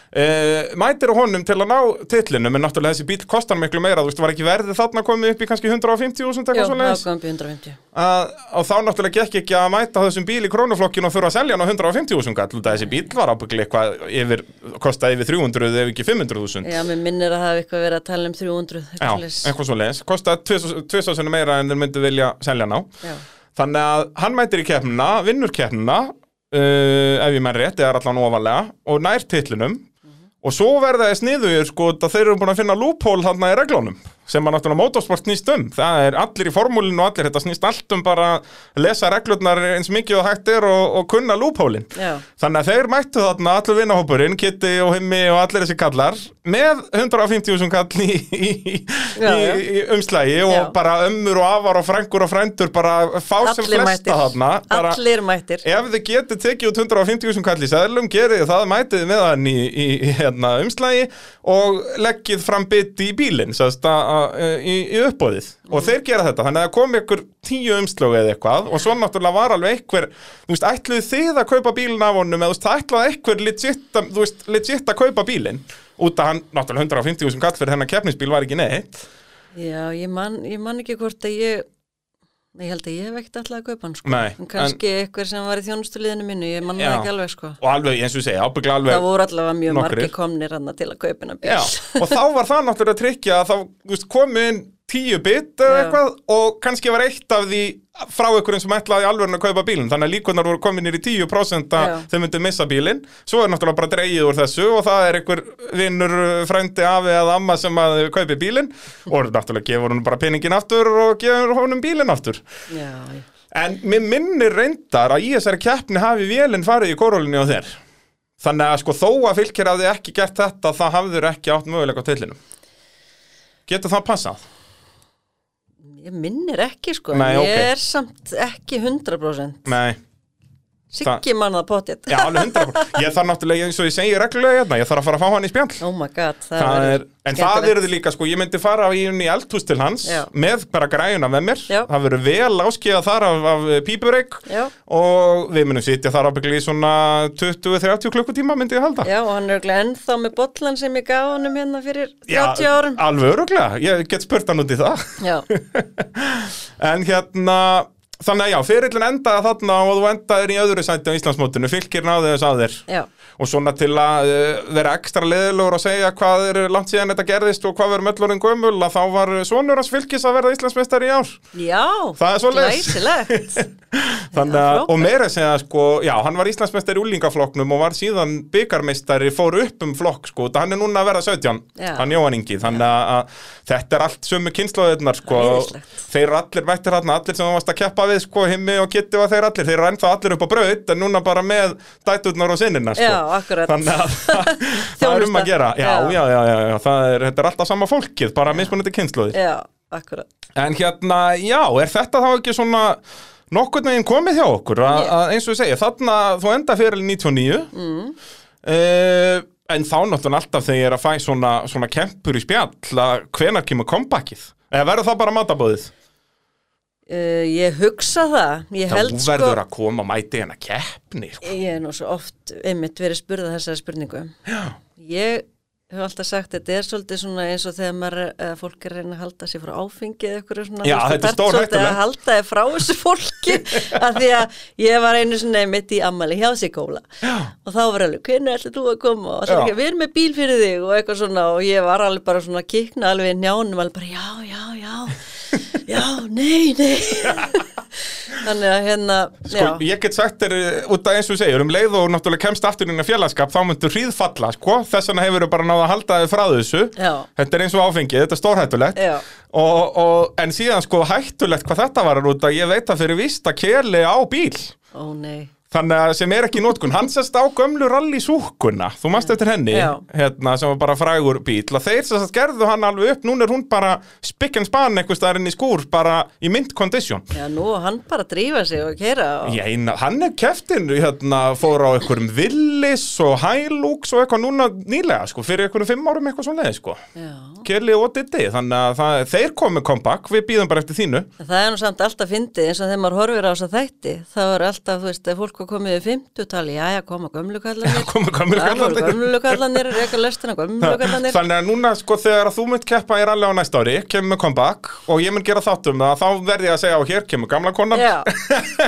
A: uh, mætir á honum til að ná titlinu en náttúrulega þessi bíl kostar miklu meira þú veist, var ekki verðið þarna komið upp í kannski 150.000
B: Já,
A: eitthvað svoleiðis
B: ákvæmbi 150.
A: Að- og þá náttúrulega gekk ekki að mæta þessum bíl í krónuflokkinu og þurfa að selja hann á 150.000 gall út af þessi bíl var ábygglega eitthvað yfir, kostaði yfir 300 ef ekki 500.000
B: Já, mér minnir að hafa eitthvað verið að tala um 300.
A: Já,
B: eitthvað svoleiðis.
A: eitthvað svo leiðis, kostaði 2000 meira en þeir myndu vilja selja hann á
B: Já.
A: Þannig að hann mætir í keppnina, vinnur keppnina, uh, ef ég menn rétt, eða allan ofalega, og nær titlunum. Og svo verða þess niður, sko, að þeir eru búin að finna loophole þarna í reglunum, sem að náttúrulega motorsport snýst um. Það er allir í formúlinu og allir, þetta snýst allt um bara að lesa reglurnar eins mikið og hægt er og, og kunna loophole-in.
B: Já,
A: Þannig að þeir mættu þarna allir vinahópurinn, Kitty og Himmi og allir þessi kallar með 150.000 kall í, í, í,
B: Já, já.
A: í umslægi og
B: Já.
A: bara ömmur og afar og frængur og frændur bara fá sem
B: allir
A: flesta
B: mættir.
A: þarna bara,
B: Allir mættir.
A: Ef þið getið tekið út 150.000 kall í seðlum, gerið þið það, mætið þið með hann í, í, í hérna, umslægi og leggið fram biti í bílinn sérst, að, að, í, í uppbóðið.
B: Mm.
A: Og þeir gera þetta, þannig að það kom ykkur tíu umslög eða eitthvað og svo náttúrulega var alveg einhver, þú veist, ætluðu þið að kaupa bílinn af honum eða þú veist, það ætlaði einhver legit, að- þú veist, legit að kaupa bílinn út að hann, náttúrulega 150.000 kall fyrir hennar keppnisbíl var ekki neitt.
B: Já, ég man, ég man ekki hvort að ég, ég held að ég hef ekkert alltaf að kaupa hann sko.
A: Nei,
B: En kannski einhver sem var í þjónustuliðinu mínu, ég man
A: Já.
B: það ekki alveg sko.
A: Og alveg, eins og ég segja, ábygglega alveg
B: Það voru allavega mjög
A: Nokkrir.
B: margir komnir hann til að kaupa hennar bíl.
A: Já, og þá var það náttúrulega að tryggja að þá þú veist, komu inn tíu bit eða
B: Já.
A: eitthvað og kannski var eitt af því frá einhverjum sem ætlaði alveg að kaupa bílinn þannig að líkunar voru komin nýr í 10% að
B: Já.
A: þau myndu missa bílinn svo er náttúrulega bara dreigið úr þessu og það er einhver vinnur uh, frændi afi eða amma sem að kaupi bílinn og náttúrulega gefur hún bara peningin aftur og gefur honum bílinn aftur
B: Já,
A: En mér minnir reyndar að í þessari keppni hafi vélinn farið í korólinni á þér. Þannig að sko þó að fylgir hafði ekki gert þetta, það hafður ekki átt möguleika á tillinum. Getur það passað?
B: ég minnir ekki sko,
A: Nei,
B: ég
A: ókei.
B: er samt ekki 100%.
A: Nei,
B: Siggi man það potið.
A: já, alveg hundra. Ég þarf náttúrulega, eins og ég segi reglulega hérna, ég þarf að fara að fá hann í spjall.
B: Oh my god, það,
A: Það er, en
B: verður
A: það
B: skemmtilegt.
A: verður líka, sko, ég myndi fara í inn í eldhús til hans
B: Já.
A: með bara græjuna með mér,
B: Já.
A: það verður vel áskiða þar af, af eh, pípureik
B: Já.
A: og við munum sitja þar ábyggli í svona 20-30 klukkutíma myndi ég halda.
B: Já, og hann er örugglega ennþá með bollan sem ég gaf honum hérna fyrir
A: Já,
B: 30 árum.
A: Alveg öruglega, ég get spurt hann út í það
B: Já,
A: En hérna, þannig að já, ferillin endaði þarna og þú endaðir í öðru sæti á Íslandsmótinu, fylgir náði þess að þér
B: já,
A: Og svona til að uh, vera ekstra leðilegur og segja hvað er langt síðan þetta gerðist og hvað verður möllurinn gömul að þá var sonur hans fylgis að verða Íslandsmeistar í ár
B: já,
A: Það er svoleiðis. Sko,
B: glæsilegt.
A: Þannig
B: Já,
A: að,
B: frábært.
A: og meira að segja sko, já, hann var Íslandsmeistar í úlingaflokknum og var síðan byggarmeistari, fór upp um flokk sko, þetta hann er núna að vera 17,
B: Já.
A: hann Jóhann Ingi, þannig að, að þetta er allt sömu kynnslóðirnar sko,
B: Æðislegt.
A: þeir eru allir mættir hann, allir sem hann varst að keppa við sko, himmi og kitti var þeir allir, þeir eru ennþá allir upp á braut, en núna bara með dæturnar og sinnina sko.
B: Já, akkurat.
A: Þannig að það, það er um
B: Þjónusta.
A: að gera, já,
B: Já.
A: já, já, já, já, það er, þetta er alltaf sama fólkið, bara mismunandi kynnslóðir.
B: Já, akkurat.
A: En hérna, já, er þetta þá ekki svona nokkurn veginn komið hjá okkur að,
B: Ég-
A: að eins og ég segja, þarna þú enda fyrir 99 mm. Eh, en þá náttúrulega alltaf þegar ég er að fæ svona, svona kempur í spjall að hvenar kemur kompakið eða verður það bara matabóðið
B: Uh, ég hugsa það, ég
A: þá
B: held sko,
A: verður að koma mæti hérna keppni sko.
B: ég er nú svo oft einmitt verið spurða þessari spurningu. Já. Ég hef alltaf sagt, þetta er svolítið svona eins og þegar maður, eða fólk er að reyna að halda sér frá áfengi eða eitthvað svona.
A: Já,
B: þú
A: þetta er
B: veist, þú þarft svolítið
A: stórhættulegt.
B: Að halda þér frá þessu fólki, af því að ég var einu svona mitt í ammali hjá sig kóla. Já. Og þá var alveg, hvernig ætlið þú að koma? Og
A: Já.
B: allir, við erum með bíl fyrir þig og eitthvað svona og ég var alveg bara svona að kikna alveg í njánum, alveg bara, já, já, já, já, nei, nei. Þannig að hérna,
A: Sko,
B: já.
A: ég get sagt þér eh, út af eins og þú segir, um leið og náttúrulega kemst aftur inn í félagskap, þá myndur hríðfalla, sko, þess vegna hefur bara náða að halda þér frá þessu,
B: Já.
A: þetta er eins og áfengið, þetta er stórhættulegt,
B: Já.
A: og, og, en síðan sko hættulegt hvað þetta var út af, ég veit að fyrir vist að keli á bíl,
B: Ó nei,
A: þannig að sem er ekki í nótkun, hann sest á gömlu rally súkuna, þú manst eftir henni,
B: Já.
A: hérna, sem var bara frægur bíl, og þeir sem sagt gerðu hann alveg upp, núna er hún bara spikk en span einhvers staðar inn í skúr, bara í mint condition.
B: já nú og hann bara að drífa sig og kera og
A: Já, eina, hann er keftin, hérna, fór á einhverjum villis og hælúks og eitthvað núna nýlega, sko, fyrir einhverjum fimm árum eitthvað svona leið, sko.
B: já.
A: Kelly og Diddy, þannig að það, þeir komu kompakk, við býðum bara eftir þínu.
B: En Það er nú samt alltaf fyndið eins og þegar maður horfir á þess að þætti þá er alltaf, þú veist, ef fólk var komið í 50-tali, já, já, koma gömlukallanir
A: Komu gömul
B: það voru
A: kallandi.
B: gömlukallanir, reyka lestina gömlukallanir
A: Þannig að núna, sko, þegar að þú mynd keppa í rally á næsta ári, kemur með kompakk og ég mynd gera þátt um það, þá verði ég að segja á hér, kemur gamla konan.
B: Já,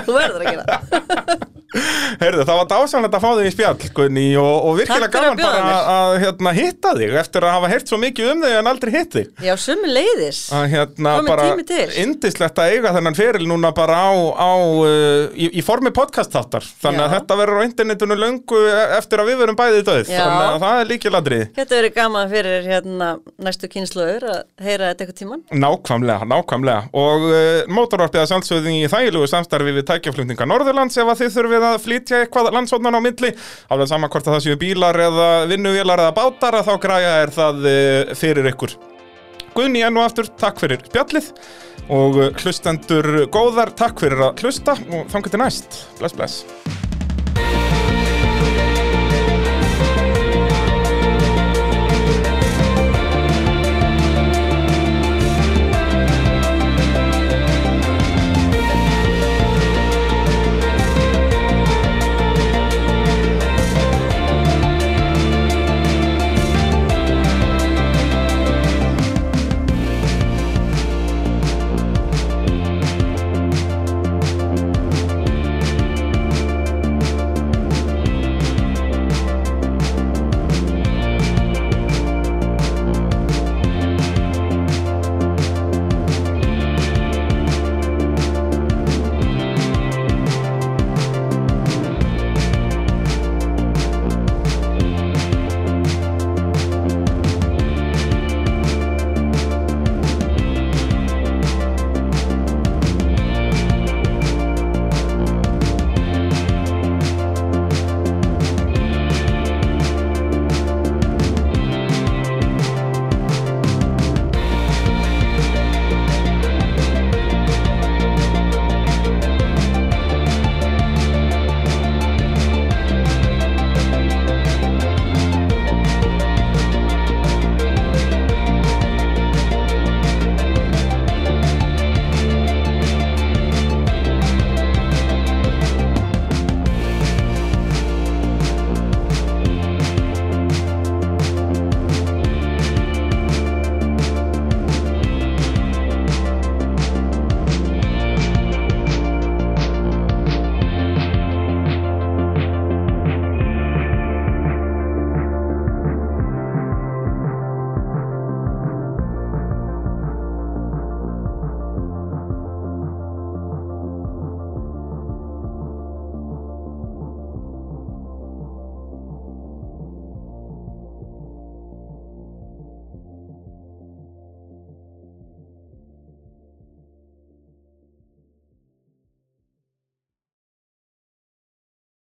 B: þú verður að gera það
A: Heyrðu, það var dásanlega að fá þig í spjall, Gunni, og, og virkilega
B: Takk fyrir að
A: gaman bara
B: bjóða
A: að, að hérna, hitta þig eftir að hafa heyrt svo mikið um þig en aldrei hitt þig.
B: Já, sumi leiðis
A: að hérna
B: Kominn
A: bara
B: tími til.
A: indislegt að eiga þennan feril núna bara á, á uh, í, í formi podcast þáttar þannig að
B: Já.
A: þetta verður á internetinu löngu e- eftir að við verum bæði döð
B: Já.
A: þannig að það er líkiladrið
B: Þetta verið gaman fyrir hérna næstu kynnslóður að heyra þetta eitthvað tíman
A: Nákvæmlega, nákvæmlega og uh, mótorvarpiða sjálfsögðin í þægilegu samstarfi við tækjaflutninga Norðurlands ef að þið þurfið að flytja eitthvað landsóknan á milli alveg sama hvort að það séu bílar eða vinnuvélar eða bátar að þá græja er það uh, fyrir ykkur Guðni enn og aftur, takk fyrir spjallið eh, og uh, hlustendur góðar, takk fyrir að hlusta og þangur til næst, bless bless